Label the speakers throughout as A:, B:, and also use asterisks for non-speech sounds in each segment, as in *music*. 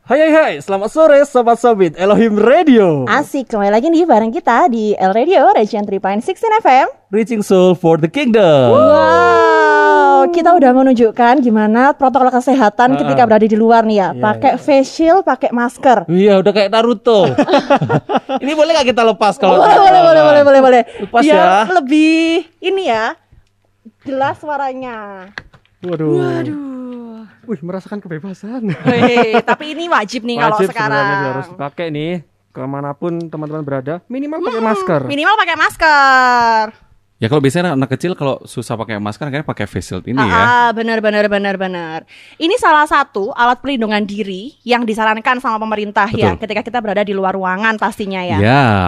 A: Hai hai hai, selamat sore Sobat Sobit Elohim Radio
B: Asik, kembali lagi nih bareng kita di El Radio Radiant 3.16 FM
A: Reaching Soul for the Kingdom
B: Wow, kita udah menunjukkan gimana protokol
A: Ah.
B: kesehatan ketika berada di luar nih ya Pakai facial, pakai masker
A: Iya udah kayak Naruto Ini boleh gak kita lepas kalau
B: Boleh, boleh, boleh, boleh, boleh, boleh
A: Lepas
B: Biar
A: ya.
B: lebih, ini ya, jelas suaranya
C: Waduh.
D: Waduh.
C: Wih, merasakan kebebasan.
D: Weh, tapi ini wajib
C: *laughs*
D: nih kalau
C: Wajib
D: sekarang.
C: sebenarnya harus dipakai nih kemanapun teman-teman berada minimal pakai
D: Hmm.
C: masker.
D: Minimal pakai masker.
E: Ya kalau biasanya anak kecil kalau susah pakai masker kayaknya pakai face shield ini ya.
D: Ah, benar benar benar benar. Ini salah satu alat perlindungan diri yang disarankan sama pemerintah ya
E: Betul. Iya.
D: ketika kita berada di luar ruangan pastinya ya.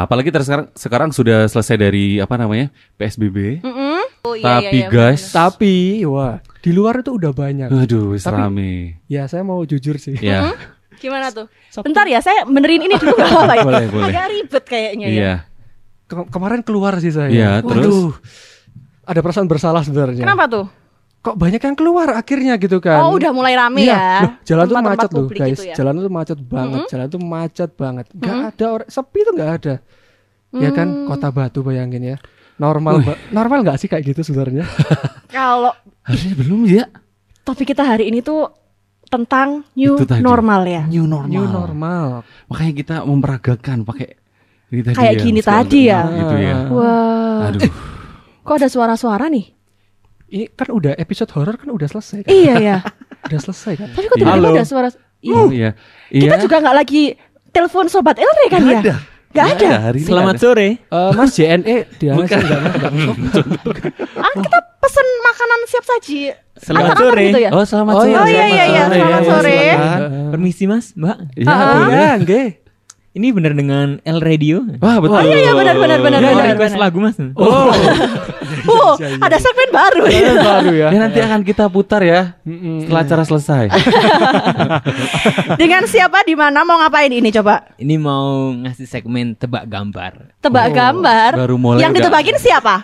E: apalagi ter- sekarang sekarang sudah selesai dari apa namanya? PSBB.
D: Mm-mm. Oh, iya,
E: Tapi
D: iya, iya,
E: guys,
C: Tapi wah, di luar itu udah banyak.
E: aduh wis
C: Tapi-
E: rame.
C: Ya, saya mau jujur sih.
D: benar.
E: Ya.
D: Gimana tuh? Bentar ya, saya benerin ini dulu nggak apa-apa ya.
E: Boleh, boleh.
D: Agak ribet kayaknya ya.
E: Iya.
C: Ke- kemarin keluar sih saya.
E: Iya,
C: Waduh, Ada perasaan bersalah sebenarnya.
D: Kenapa tuh?
C: Kok banyak yang keluar akhirnya gitu kan?
D: Oh, udah mulai rame
C: Iya.
D: ya.
C: Loh, jalan tuh
D: Tempat-tempat
C: macet loh,
D: publik
C: guys.
D: gitu ya. Hmm.
C: Jalan tuh macet banget. Jalan tuh macet banget. Gak ada orang sepi tuh gak ada. Ya kan, kota Batu bayangin ya. Normal, ba- normal nggak sih kayak gitu sebenarnya?
D: Kalau
E: Harusnya belum ya.
D: topik kita hari ini tuh tentang new
E: Itu tadi.
D: normal ya.
E: New normal.
C: New normal.
E: Makanya kita memperagakan pakai ini tadi
D: Kayak
E: ya,
D: gini
E: masker
D: tadi ya. Ah. Eh,
E: Gitu ya.
D: Wah,
E: Aduh.
D: kok ada suara-suara nih?
C: Ini kan udah episode horor kan udah selesai kan?
D: Iya ya.
C: udah selesai kan?
D: Tapi kok tiba-tiba
E: Halo.
D: ada suara? Iya.
E: Oh, iya.
D: Kita
E: Iya.
D: juga nggak lagi telepon sobat Elre kan ya?
E: ada.
D: Nggak ada.
E: Iya, hari ini
A: Selamat
E: nggak
A: sore
C: Eh, mas JNE dia
E: Bukan.
C: sih nggak- nggak- nggak.
D: Ah, kita pesen makanan siap saji.
A: Selamat
D: Antar-antar
A: sore
D: gitu ya?
A: Oh selamat
C: Oh,
A: sore
C: iya, iya,
A: selamat
C: iya, iya,
A: sore.
D: selamat sore.
A: silakan. Permisi mas, mbak
E: ada. Iya,
D: Ah.
E: boleh.
C: Iya, nggih.
A: Ini bener dengan El Radio
E: Wah,
D: Oh
E: betul.
D: iya iya benar benar benar
A: Mau
D: benar.
A: request
D: benar.
A: lagu mas
C: Oh,
D: Oh,
E: Iya,
D: ada segmen baru.
C: yang baru ya.
E: Ya, nanti akan kita putar ya setelah acara selesai.
D: *laughs* Dengan siapa di mana mau ngapain ini coba?
A: Ini mau ngasih segmen tebak gambar
D: Tebak gambar.
E: Oh, baru mulai
D: Yang
E: udah.
D: ditebakin siapa?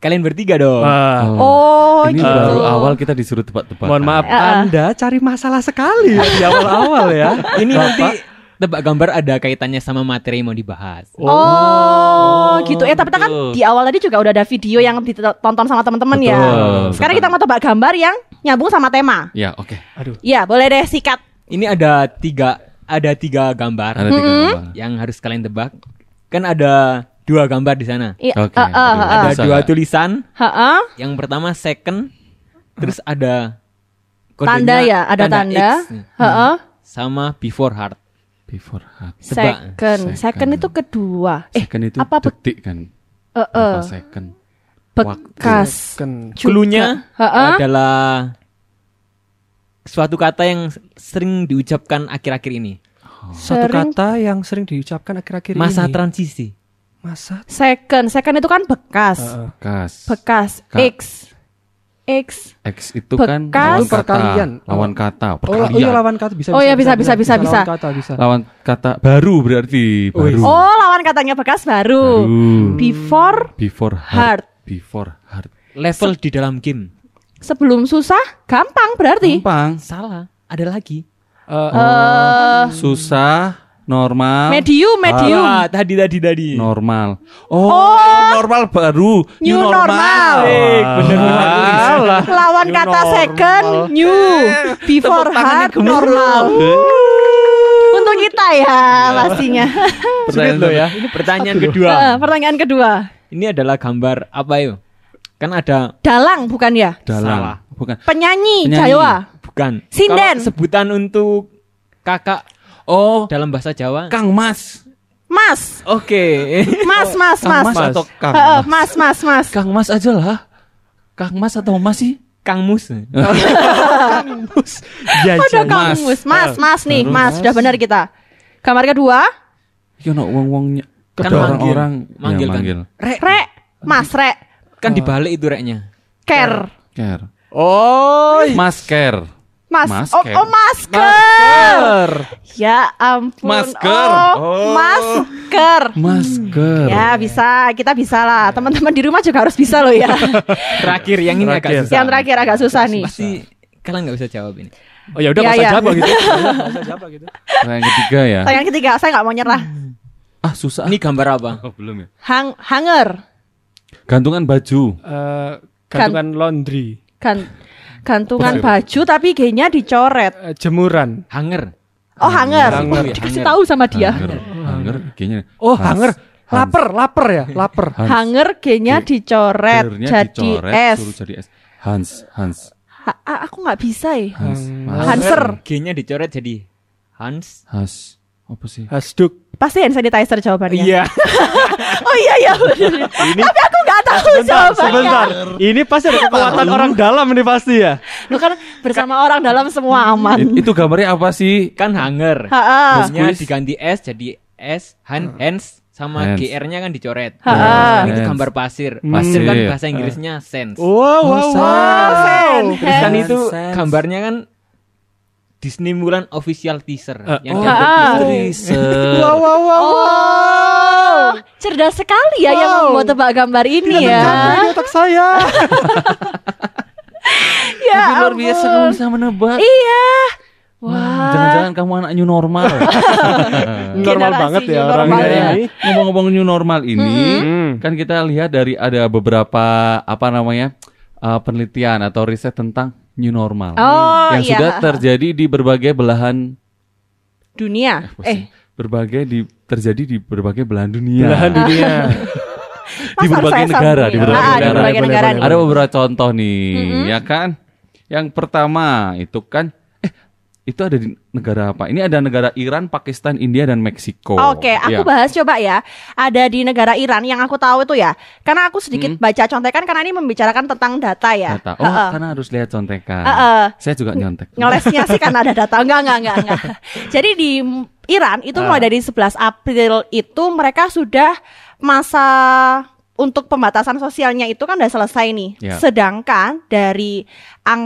A: Kalian bertiga dong
D: *laughs* Oh, gitu.
E: ini baru awal kita disuruh tebak-tebakan.
C: Mohon maaf,
D: Ah, ah.
C: Anda cari masalah sekali ya di awal-awal ya.
A: *laughs* Ini nanti tebak gambar ada kaitannya sama materi yang mau dibahas
D: Oh,
E: Oh,
D: gitu ya. Tapi kita kan
E: gitu.
D: di awal tadi juga udah ada video yang ditonton sama teman-teman ya.
E: Betul.
D: Sekarang kita mau tebak gambar yang nyambung sama tema.
E: Ya, oke.
D: Ya, boleh deh sikat.
A: Ini ada tiga ada tiga gambar
E: Ada tiga gambar.
A: yang harus kalian tebak. Kan ada dua gambar di sana.
D: Iya,
E: Oke,
D: eh, eh, eh,
E: aduh. Ah.
A: Ada dua tulisan.
D: eh, eh.
A: Yang pertama second, terus ada kodenya
D: Tanda ya, ada tanda.
A: X,
E: Hmm.
D: Heeh.
A: sama before heart.
E: Before heart.
A: Tebak.
D: Second. Second itu kedua. Eh,
E: second itu
D: apa be-
E: detik kan?
D: eh, eh,
E: Berapa second?
D: bekas?
C: Kan
D: juga.
A: Cluenya
D: Heeh.
A: adalah suatu kata yang sering diucapkan akhir-akhir ini.
C: satu
D: Sering-
C: kata yang sering diucapkan akhir-akhir ini.
A: Masa transisi.
C: Masa
D: Second. Second itu kan bekas.
E: Kas.
D: Bekas.
E: Ka-
D: X. X.
E: X itu kan
D: Bekas.
E: lawan
C: Itu perkalian.
E: kata. Lawan kata.
C: Oh,
E: Perkalian.
C: oh iya lawan kata bisa
D: Oh iya, bisa, bisa, bisa,
C: lawan
D: bisa.
C: kata bisa.
E: Lawan kata baru berarti baru.
D: Oh, lawan katanya bekas baru.
E: Baru.
D: Before
E: Before
D: Heart.
E: heart. Before heart.
A: Level di dalam game.
D: sebelum susah gampang berarti.
E: Gampang.
A: Salah. Ada lagi.
C: Eh,
E: Susah. Normal.
D: Eh, Medium, medium.
A: Salah. Ah, Tadi tadi tadi.
E: Normal. Oh, normal baru.
D: New normal.
E: Eh, bener
C: salah.
D: Lawan kata second, new, before hard, normal. Untuk kita ya pastinya.
A: Sulit loh ya. Ini pertanyaan kedua.
D: Eh, Pertanyaan kedua,
A: Ini adalah gambar apa yuk? Kan ada
D: dalang bukan ya?
E: Dalam.
A: Salah.
E: Bukan.
D: Penyanyi,
E: Penyanyi.
A: ah.
D: Jawa.
A: bukan
D: Sinden.
A: Kalau sebutan untuk kakak
E: Oh,
A: dalam bahasa Jawa.
E: Kang Mas.
D: Mas,
A: Oke.
D: mas, mas,
E: Kang
D: mas.
E: Mas atau Kang
D: Eh, eh,
E: Mas?
D: Mas, mas, mas.
E: Kang Mas aja lah. Kang Mas atau Mas sih?
A: Kang Mus.
C: ya,
D: Ada
C: jadi-
E: Mas.
D: kamus. Mas, mas nih, mas. Sudah benar kita. Gambar kedua,
E: Ya no wong-wong ny- Ada
A: Kan manggil.
E: orang-orang
A: Manggil
E: ya,
A: kan.
E: manggil.
A: Rek.
D: rek, mas, rek,
A: Kan dibalik itu reknya.
D: care.
E: Care.
A: Oh.
E: Mas Care.
D: Mas, oh,
E: Masker.
D: oh, masker. Ya ampun.
E: Masker.
D: Oh, masker.
E: Mas Care.
D: Ya bisa, kita bisa lah. Teman-teman di rumah juga harus bisa loh ya.
A: Terakhir yang ini agak susah.
D: Yang terakhir agak susah nih.
A: Pasti kalian nggak bisa jawab ini.
C: Oh ya udah
D: Iya,
C: nggak usah
D: iya.
C: jawab kalau gitu. Nggak usah jawab kalau gitu.
E: Nah, yang ketiga ya.
D: Pertanyaan ketiga, saya nggak mau nyerah.
E: Ah, susah.
A: Ini gambar apa?
E: Oh, belum ya.
D: Hang, hanger,
E: Gantungan baju.
C: Eh,
D: Kan.
C: gantungan laundry,
D: Gan- gantungan
E: Betul.
D: baju tapi G-nya dicoret.
C: Eh, jemuran.
A: Hanger.
D: Oh hanger,
C: Hanger.
D: Oh, dikasih tahu sama dia.
E: Hanger. Hanger kayaknya.
C: Oh,
E: Mas-
C: hanger. Lapar, lapar ya, lapar.
E: Hans.
D: Hanger G-nya dicoret
E: Hangernya
D: jadi
E: dicoret,
D: S.
E: suruh jadi S. Hans, Hans,
D: Ha- ah, aku nggak bisa ya.
E: Hans.
C: Hanger.
E: Hans.
D: Hanser,
A: G-nya dicoret jadi Hans.
E: Hans. Apa sih?
C: Hasduk.
D: pasti hand sanitizer
A: Iya,
D: jawabannya. Oh iya iya. bener. Tapi aku nggak tahu
C: Eh, Sebentar,
D: jawabannya.
C: sebentar. Ini pasti ada kekuatan orang dalam nih pasti ya.
D: Lu kan bersama orang dalam semua aman.
E: It- itu gambarnya apa sih?
A: Kan hanger.
D: Ha, ha.
A: Terusnya
E: Squeeze.
A: diganti S jadi S, Han, Hans sama
E: Hands.
A: GR-nya kan dicoret.
D: Ha, ha.
A: Nah, Itu
E: Hands.
A: gambar pasir.
C: Hmm.
A: Pasir kan
E: Pasir.
A: bahasa Inggrisnya sense.
D: Oh,
C: Wow, wow, wow.
D: Fan,
C: Terus kan
D: hand.
C: itu
A: Gambarnya kan Disney Mulan official teaser
C: Eh,
A: yang
C: oh.
A: gambar
D: Ha, ha.
A: putri.
C: Wow, wow, wow.
D: Oh, cerdas sekali ya yang
C: Wow.
D: membuat tebak gambar ini ya.
C: Tercapai di otak
D: *laughs*
C: saya.
D: Ya
E: luar biasa
D: ampun.
E: kamu bisa menebak.
D: Iya. Wah. Iya.
E: Jangan-jangan kamu anak new
D: *laughs*
E: normal.
C: Normal
D: Generasi
C: banget ya
D: new
C: orang
D: normal
C: ini.
D: ya.
E: Iya. Ngomong-ngomong new normal ini, kan kita lihat dari ada beberapa apa namanya uh, penelitian atau riset tentang new normal
D: Oh,
E: yang
D: iya.
E: sudah terjadi di berbagai belahan
D: Dunia.
E: apa
D: Eh,
E: sih? berbagai di terjadi di berbagai belahan dunia,
C: Belahan dunia.
E: di
D: Masa
E: berbagai
D: harus saya
E: negara,
D: sambung
E: di
D: ya? Ah,
E: berbagai negara.
D: berbagai
C: Boleh,
D: negara
C: boleh,
D: nih.
E: Ada beberapa contoh nih, ya kan? Yang pertama itu kan eh itu ada di negara apa? Ini ada negara Iran, Pakistan, India dan Meksiko.
D: Oke, aku
E: Ya.
D: bahas coba ya. Ada di negara Iran yang aku tahu itu ya. Karena aku sedikit baca contekan karena ini membicarakan tentang data ya.
E: Hmm. Data. Oh, kan. karena harus lihat contekan.
D: Heeh.
E: Saya juga nyontek.
D: Ngelesnya sih karena ada data. Enggak, enggak, enggak,
E: *laughs*
D: enggak. Jadi di Iran itu mulai
E: Ah.
D: dari 11 April itu mereka sudah masa untuk pembatasan sosialnya itu kan udah selesai nih.
E: Ya.
D: Sedangkan dari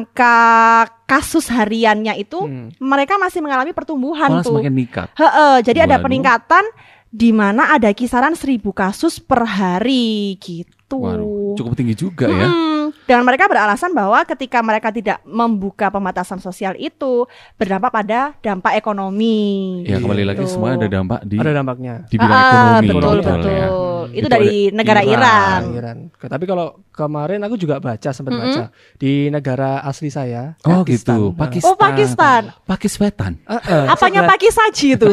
D: angka kasus hariannya itu
C: Hmm.
D: mereka masih mengalami pertumbuhan
E: Hmm. Malah
D: tuh.
E: semakin meningkat.
D: Heeh, jadi ada
E: Waduh.
D: peningkatan di mana ada kisaran 1000 kasus per hari gitu.
E: Waduh, cukup tinggi juga ya.
D: Mm-mm. Dan mereka beralasan bahwa ketika mereka tidak membuka pembatasan sosial itu berdampak pada dampak ekonomi.
E: Ya kembali lagi
D: Gitu.
E: semua ada dampak di
C: Ada dampaknya.
E: di bidang
D: Ah,
E: ekonomi.
D: Betul,
E: gitu
D: betul.
E: ya.
D: Itu,
E: Itu
D: dari negara Iran.
C: Iran. Tapi kalau kemarin aku juga baca sempat baca di negara asli saya.
E: Oh
C: Pakistan.
E: gitu,
C: Nah,
E: Pakistan.
D: Oh, Pakistan.
E: Pakistan.
C: eh, eh,
E: Iya.
D: Apanya
C: sebelah
D: Paki Saji itu?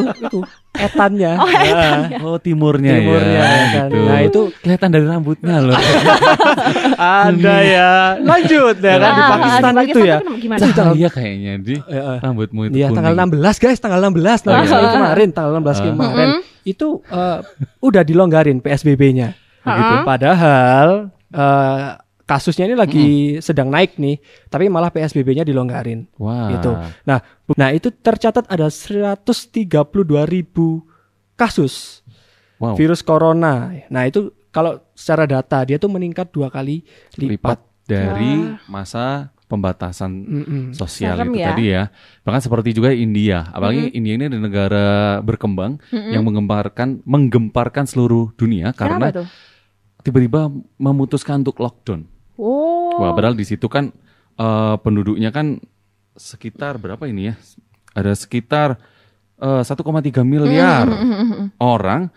C: Etannya.
D: Oh, etannya.
E: Oh timurnya,
C: Timurnya,
E: ya.
C: kan.
E: gitu.
C: Nah, itu
E: kelihatan dari rambutnya loh.
D: Ah,
C: Ada ya. Lanjut ya kan di
D: Ah,
C: Pakistan
D: di
C: itu ya.
D: Pakistan itu gimana?
E: Cahaya iya kayaknya di
C: Eh, eh.
E: rambutmu itu
C: Iya
E: kuning.
C: tanggal 16 guys tanggal 16 tanggal
D: Uh-huh.
C: 16 kemarin tanggal 16
E: Uh-huh.
C: kemarin
D: Mm-hmm.
C: itu eh, udah dilonggarin PSBB-nya. Begitu.
D: Ah,
C: Padahal eh, kasusnya ini lagi sedang naik nih, tapi malah PSBB-nya dilonggarin.
E: Wah.
C: Gitu. Nah, bu- nah itu tercatat ada 132.000 ribu kasus
E: Wow.
C: virus corona. Nah itu kalau secara data dia tuh meningkat dua kali
E: lipat
C: lipat.
E: dari masa pembatasan
C: Mm-mm.
E: sosial
D: Serem ya.
E: itu
D: Hmm.
E: tadi ya. Bahkan seperti juga India, apalagi India ini adalah negara berkembang yang menggemparkan menggemparkan seluruh dunia
D: Kenapa
E: karena
D: tuh?
E: tiba-tiba memutuskan untuk lockdown.
D: Oh.
E: Wah, padahal di situ kan eh, penduduknya kan sekitar berapa ini ya? Ada sekitar eh, 1,3 miliar orang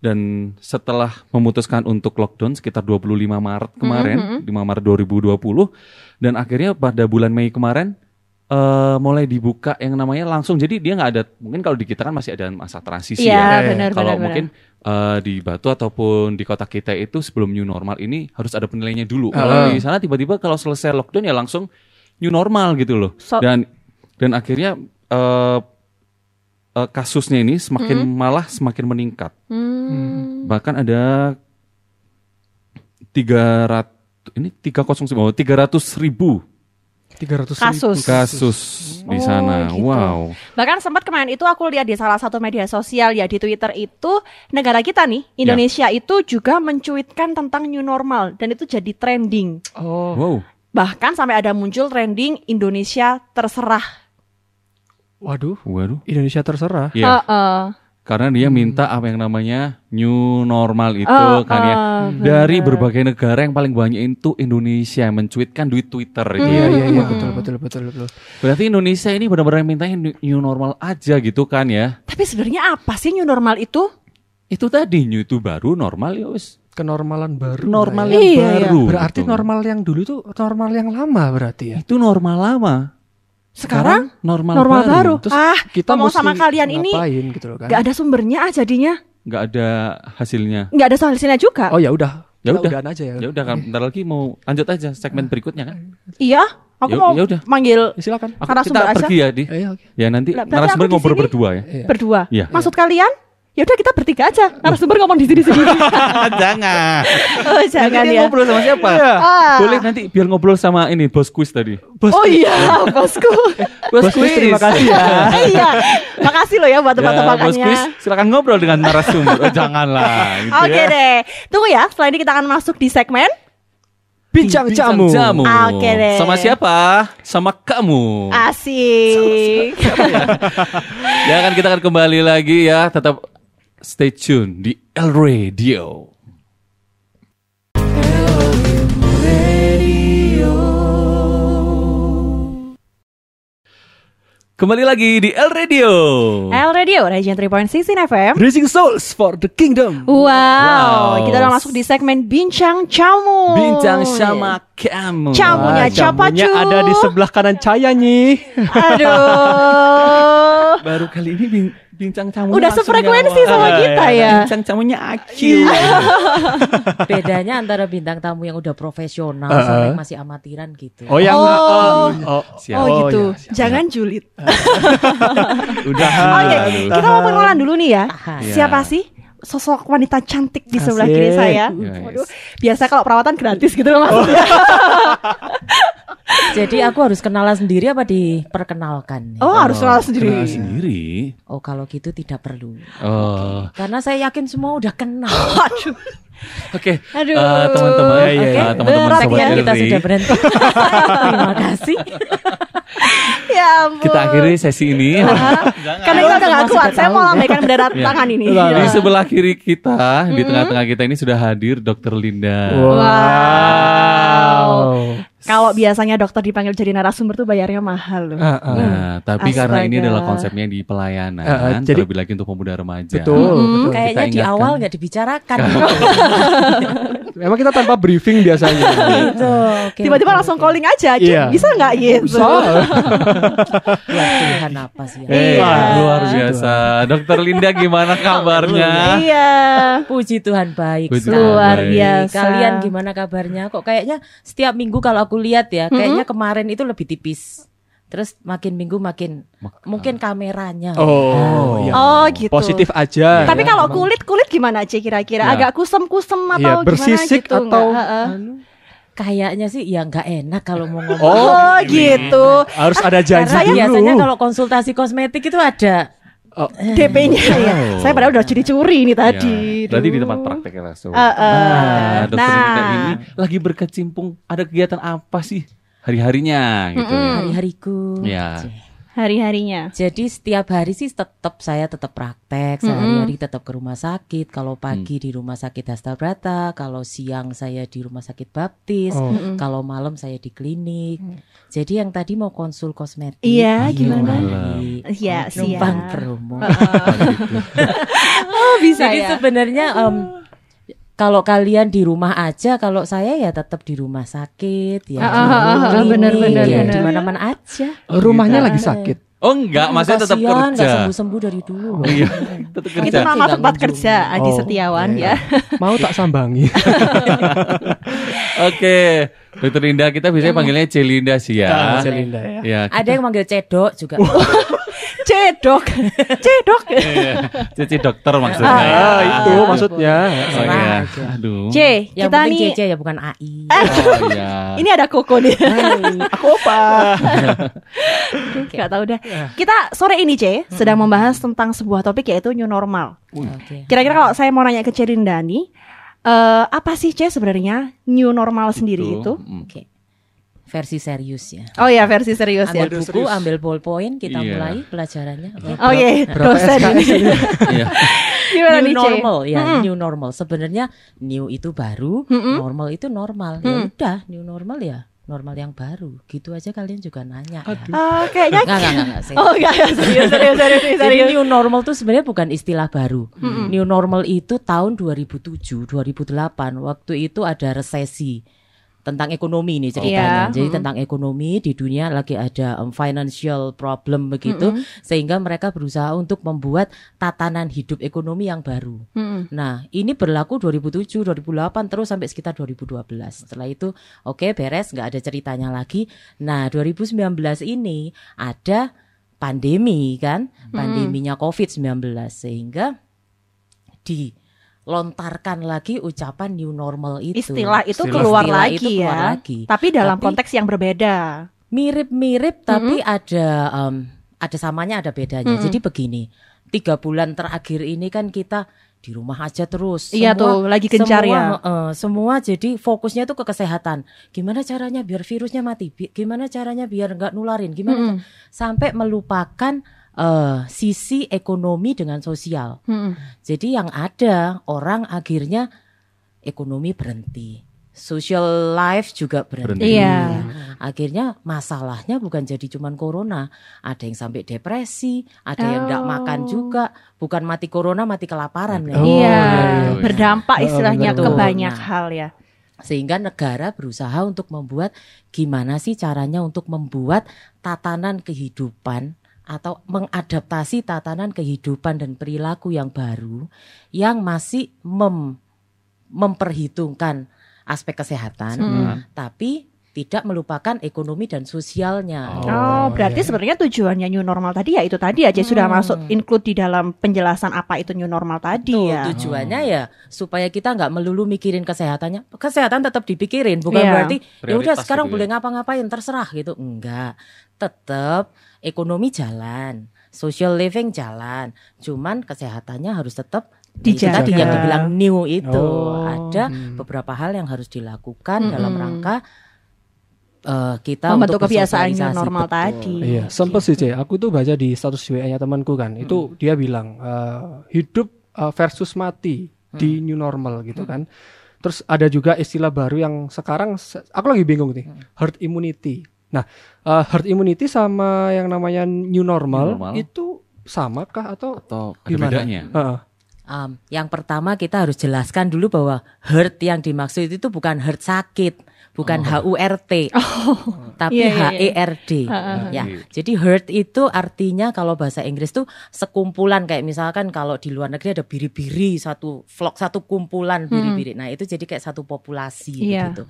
E: dan setelah memutuskan untuk lockdown sekitar 25 Maret kemarin,
D: Mm-hmm.
E: 5 Maret 2020 dan akhirnya pada bulan Mei kemarin eh, mulai dibuka yang namanya langsung. Jadi dia nggak ada mungkin kalau di kita kan masih ada masa transisi
D: Iya,
E: ya.
D: benar,
E: Kalau
D: benar,
E: mungkin eh, di Batu ataupun di kota kita itu sebelum new normal ini harus ada penilaiannya dulu. Kalau di sana tiba-tiba kalau selesai lockdown ya langsung new normal gitu loh.
D: So-
E: dan dan akhirnya eh, eh, kasusnya ini semakin
D: Mm-hmm.
E: malah semakin meningkat.
D: Hmm.
E: Bahkan ada 300 ini 309 oh, 300 ribu
C: 300.000
D: Kasus.
E: kasus di
D: Oh,
E: sana.
D: gitu.
E: Wow.
D: Bahkan sempat kemarin itu aku lihat di salah satu media sosial ya di Twitter itu negara kita nih
E: Ya.
D: Indonesia itu juga mencuitkan tentang new normal dan itu jadi trending.
C: Oh.
E: Wow.
D: Bahkan sampai ada muncul trending Indonesia terserah.
C: Waduh,
E: Waduh.
C: Indonesia terserah.
D: Ah.
E: Iya.
D: Heeh.
E: karena dia minta apa yang namanya new normal itu
D: Oh,
E: kan ya.
D: oh,
E: Dari berbagai negara yang paling banyak itu Indonesia yang mencuitkan duit Twitter gitu
C: Iya
D: Hmm.
E: ya.
C: iya iya betul betul betul betul.
E: Berarti Indonesia ini benar-benar mintanya new- new normal aja gitu kan ya.
D: Tapi sebenarnya apa sih new normal itu?
E: Itu tadi new itu baru normal ya wis.
C: Kenormalan baru.
E: Normal
C: lah ya.
E: yang
D: Iya, iya.
E: baru.
C: Berarti
E: gitu.
C: normal yang dulu tuh normal yang lama berarti ya.
E: itu normal lama.
D: Sekarang
E: normal,
D: normal
E: baru.
D: baru. ah,
C: kita
D: ngomong
C: mesti
D: sama kalian ini
C: ngapain gitu loh kan.
D: nggak ada sumbernya ah jadinya.
E: nggak ada hasilnya.
D: Nggak ada hasilnya juga.
C: Oh ya udah.
E: Ya
C: Kita
E: udah.
C: udahan aja ya.
E: Ya udah kan, bentar lagi mau lanjut aja segmen berikutnya kan.
D: Iya, aku
E: Ya-
D: mau
E: ya udah.
D: manggil
C: Ya, silakan.
E: Aku,
D: Narasumber
E: kita
D: aja.
E: pergi ya di.
C: Eh, iya, oke.
E: Ya nanti
D: Lah, berarti
E: narasumber
D: aku di
E: ngobrol
D: sini.
E: berdua ya.
C: Iya.
D: berdua.
E: Iya.
D: Maksud kalian? Ya udah kita bertiga aja. Narasumber ngomong di sini
E: *laughs*
D: sendiri.
E: Jangan.
D: oh, jangan ya.
E: nanti dia kan ngobrol sama siapa?
D: Ah.
E: Boleh nanti biar ngobrol sama ini bos kuis tadi.
C: Bos,
D: Oh iya, bosku.
E: *laughs*
C: Bos
E: Bos,
C: Kuis, terima kasih ya.
D: iya. Makasih loh ya buat
E: Ya, bos
D: tempat-tempatnya.
E: kuis silakan ngobrol dengan narasumber. Oh, *laughs* janganlah gitu
D: Oke
E: ya.
D: deh. Tunggu ya, setelah ini kita akan masuk di segmen
C: bincang jamu.
E: Jamu.
D: Oke deh. Ah,
E: Sama siapa? Sama kamu.
D: asik.
E: Ya kan kita akan kembali lagi ya. Tetap stay tune di El Radio. Kembali lagi di El Radio.
D: L Radio, Region 3.16 FM.
C: Raising Souls for the Kingdom.
D: Wow,
E: Wow.
D: kita udah masuk di segmen Bincang Camu.
E: Bincang sama kamu.
D: Camunya
C: Ah,
D: siapa,
C: jamunya
D: Cu?
C: ada di sebelah kanan cahaya nih.
D: Aduh.
E: *laughs* Baru kali ini bin- bincang camu
D: Udah sefrekuensi sama
E: Iya,
D: kita ya.
E: Bincang camunya Aki.
C: Iya.
F: bedanya antara bintang tamu yang udah profesional
C: Uh-uh.
F: sama yang masih amatiran gitu.
C: Oh yang
D: Oh.
C: oh, oh,
E: Siap.
D: oh gitu.
E: iya,
C: ya, siap.
D: Jangan julid.
E: Udah.
D: Oke,
E: aduh.
D: kita mau pengenalan dulu nih ya.
F: Tahan.
E: Iya.
D: Siapa sih sosok wanita cantik di sebelah kiri
C: Asik.
D: saya?
E: Yes.
D: Waduh, biasa kalau perawatan gratis gitu loh maksudnya.
F: Jadi aku harus kenalan sendiri apa diperkenalkan?
D: Oh, harus kenal sendiri.
E: Kenal sendiri.
F: Oh, kalau gitu tidak perlu.
E: Oh.
F: Karena saya yakin semua udah kenal.
D: Aduh.
E: Oke,
D: Aduh.
E: eh, teman-teman,
C: Iya, iya,
E: eh,
C: iya.
E: teman-teman
D: Berat
E: sobat
F: Segmen ya, kita
E: Elri,
F: sudah berhenti.
E: *laughs*
F: Terima kasih.
D: Ya ampun.
E: kita akhiri sesi ini.
D: Karena kita udah gak
F: Masih
D: kuat, saya mau
F: ketahuan.
D: lambaikan bendera
E: Iya.
D: tangan ini.
E: Di
D: Iya.
E: sebelah kiri kita, di tengah-tengah kita ini sudah hadir Dokter Linda.
D: Wow.
C: Wow.
D: Kalau biasanya dokter dipanggil jadi narasumber tuh bayarnya mahal loh.
C: Ah, ah.
E: Nah, tapi karena ini
D: Astaga.
E: adalah konsepnya di pelayanan,
C: Eh, eh, jadi-
E: terlebih lagi untuk pemuda remaja.
C: Betul, betul.
F: Kayaknya
E: Kita
F: di
E: ingatkan.
F: awal nggak
E: *laughs*
F: dibicarakan.
C: Memang kita tanpa briefing
D: *laughs*
C: biasanya.
F: gitu. Oke,
D: Tiba-tiba
F: oke,
D: langsung
F: oke.
D: calling aja, Cuk,
C: Iya.
D: bisa nggak gitu?
C: Bisa.
F: Ya Tuhan apa sih? ya?
E: Eh,
D: Iya.
E: luar biasa. Dokter Linda
D: *laughs*
E: gimana kabarnya?
D: Iya,
F: Puji Tuhan baik.
E: Puji
F: Sal.
E: Tuhan.
D: luar
E: Baik.
D: biasa.
F: Kalian gimana kabarnya? Kok kayaknya setiap minggu kalau aku lihat ya, kayaknya kemarin itu lebih tipis. Terus makin minggu makin mungkin kameranya.
C: Oh, iya.
D: Oh gitu.
C: Positif aja.
D: Tapi
C: ya,
D: kalau
C: memang.
D: kulit kulit gimana Ci kira-kira?
E: Ya.
D: Agak kusem-kusem atau
C: Iya,
D: gimana
C: bersisik
D: gitu?
C: atau
D: Nggak, eh, eh.
F: Kayaknya sih ya nggak enak kalau mau ngomong.
D: Oh, gitu.
C: harus ada janji
F: Karena
C: Oh, dulu.
F: biasanya kalau konsultasi kosmetik itu ada.
C: Oh,
D: DP-nya ya.
E: Oh.
D: Saya padahal udah curi-curi nih tadi.
E: Ya, berarti di
D: Duh.
E: tempat prakteknya langsung.
D: Eh, eh.
E: Nah, dokter
D: Nah.
E: Linda ini lagi berkecimpung. Ada kegiatan apa sih hari-harinya gitu? ya?
D: Hmm.
F: Hari-hariku.
E: Ya.
D: Hari-harinya.
F: Jadi setiap hari sih tetap saya tetap praktek, sehari-hari
D: Hmm.
F: tetap ke rumah sakit. Kalau pagi di rumah sakit Hasta Brata, kalau siang saya di rumah sakit Baptis,
C: Oh.
D: Hmm.
F: kalau malam saya di klinik. Jadi yang tadi mau konsul kosmetik.
D: Iya, gimana?
F: hari.
D: Iya,
F: Oh, Numpang
D: siap.
F: promo.
D: Oh, bisa
F: Jadi
D: ya.
F: sebenarnya em, kalau kalian di rumah aja, kalau saya ya tetap di rumah sakit ya.
D: Ah, ah, ah, ah,
F: klinik,
D: bener, bener,
F: ya,
D: bener.
F: Di mana-mana aja.
C: rumahnya lagi sakit.
E: Oh
D: Hmm,
E: enggak, maksudnya tetap
F: Kasihan, nggak
E: kerja.
F: sembuh-sembuh dari dulu.
E: Oh, iya, *laughs*
D: Itu
E: tetap kerja.
F: Nanti
D: nama
F: nggak
D: tempat
F: kunjung.
D: kerja Adi
C: Oh,
D: Setiawan
C: iya.
D: ya.
C: Mau tak sambangi.
E: Oke, Dokter Linda kita biasanya
D: Iya.
E: panggilnya Celinda sih ya.
C: Ah, Celinda ya.
E: Ya,
F: Ada yang manggil cedok juga.
D: Cedok. Cedok.
E: *laughs* Cici dokter maksudnya. ya.
C: Ah, itu maksudnya.
E: Oh iya.
F: Serah aja.
E: Aduh.
D: C,
F: Yang
D: kita
F: penting
D: nih
F: JJ ya bukan AI.
E: Oh iya.
D: ini ada koko nih.
C: Aku
D: *laughs*
C: apa?
D: Gak tahu dah. Kita sore ini C sedang membahas tentang sebuah topik yaitu new normal.
F: Oke.
D: Kira-kira kalau saya mau nanya ke Cerinda nih, eh, apa sih C sebenarnya new normal sendiri itu?
E: Mm.
F: Oke. versi seriusnya.
D: Oh ya versi serius ya.
F: Ambil buku, ambil ballpoint, kita
E: Iya.
F: mulai pelajarannya. Oke.
D: Oke, dosen *laughs* ini.
E: Iya.
D: Gimana nih,
F: new
D: Ce?
F: normal ya
D: Mm-mm.
F: new normal sebenarnya new itu baru
D: Mm-mm.
F: normal itu normal ya
D: Mm.
F: udah new normal ya normal yang baru gitu aja kalian juga nanya ya.
D: Ah, kayaknya
F: nggak nggak nggak nggak sih
D: Oh enggak, enggak, serius, serius, serius, serius.
F: Jadi new normal tuh sebenarnya bukan istilah baru. New normal itu tahun 2007, 2008. Waktu itu ada resesi tentang ekonomi nih
D: Iya,
F: ceritanya. Jadi
D: mm-mm.
F: tentang ekonomi di dunia lagi ada um, financial problem begitu sehingga mereka berusaha untuk membuat tatanan hidup ekonomi yang baru.
D: Mm-mm.
F: Nah, ini berlaku 2007, 2008 terus sampai sekitar 2012. Setelah itu oke beres, nggak ada ceritanya lagi. Nah, 2019 ini ada pandemi kan, pandeminya Covid-19 sehingga dilontarkan lagi ucapan new normal itu.
D: Istilah itu
E: Istilah.
D: keluar
F: Istilah
D: lagi
F: itu keluar
D: ya.
F: lagi.
D: Tapi dalam
F: Tapi-
D: konteks yang berbeda.
F: mirip-mirip tapi
D: Mm-hmm.
F: ada em, ada samanya ada bedanya.
D: Mm-mm.
F: Jadi begini, tiga bulan terakhir ini kan kita di rumah aja terus.
D: Iya tuh, lagi gencar
F: semua,
D: ya.
F: eh, semua jadi fokusnya tuh ke kesehatan. Gimana caranya biar virusnya mati? Bi- gimana caranya biar nggak nularin? Gimana
D: Mm-mm.
F: ca- sampai melupakan eh, sisi ekonomi dengan sosial.
D: Mm-mm.
F: Jadi yang ada orang akhirnya ekonomi berhenti, social life juga
E: Berhenti.
F: berhenti.
D: Iya.
F: Akhirnya masalahnya bukan jadi cuman corona, ada yang sampai depresi, ada yang tidak
D: Oh.
F: makan juga, bukan mati corona mati kelaparan ya.
E: Oh,
D: iya,
E: iya, iya.
D: berdampak
C: Oh,
D: istilahnya
F: betul.
D: ke banyak
F: Nah.
D: hal ya.
F: Sehingga negara berusaha untuk membuat gimana sih caranya untuk membuat tatanan kehidupan atau mengadaptasi tatanan kehidupan dan perilaku yang baru yang masih mem- memperhitungkan aspek kesehatan
E: Hmm.
F: tapi tidak melupakan ekonomi dan sosialnya.
E: Oh,
D: Oh,
C: iya.
D: berarti sebenarnya tujuannya new normal tadi ya itu tadi aja sudah
F: Hmm.
D: masuk include di dalam penjelasan apa itu new normal tadi
F: Betul,
D: ya.
F: tujuannya
E: Hmm.
F: ya supaya kita nggak melulu mikirin kesehatannya. Kesehatan tetap dipikirin, bukan
D: Iya.
F: berarti ya udah
E: Prioritas
F: sekarang
E: gitu
F: boleh
E: ya."
F: ngapa-ngapain terserah gitu. Enggak. Tetap ekonomi jalan, social living jalan. Cuman kesehatannya harus tetap itu
D: Dijaga.
F: tadi yang dibilang new itu
C: Oh,
F: ada
C: hmm.
F: beberapa hal yang harus dilakukan dalam
D: Mm-mm.
F: rangka eh, kita
D: Membentuk
F: untuk
D: kebiasaan new
F: bersosialisasi.
D: normal
F: Betul.
D: tadi.
C: Iya, sempet sih C. Aku tuh baca di status WA-nya temanku kan. Itu dia bilang eh, hidup eh, versus mati di new normal gitu kan. Terus ada juga istilah baru yang sekarang se- aku lagi bingung nih, herd immunity. Nah, eh, herd immunity sama yang namanya new normal,
E: New normal.
C: itu samakah atau
E: Atau ada
C: Gimana?
E: bedanya?
C: Heeh.
F: Um, yang pertama kita harus jelaskan dulu bahwa hurt yang dimaksud itu bukan hurt sakit, bukan
D: *laughs*
F: HURT, tapi
D: Iya, iya, iya.
F: HERD. Ya,
E: Iya.
F: jadi hurt itu artinya kalau bahasa Inggris tuh sekumpulan kayak misalkan kalau di luar negeri ada biri-biri satu vlog satu kumpulan biri-biri. Nah, itu jadi kayak satu populasi
D: Hmm. Iya.
F: begitu.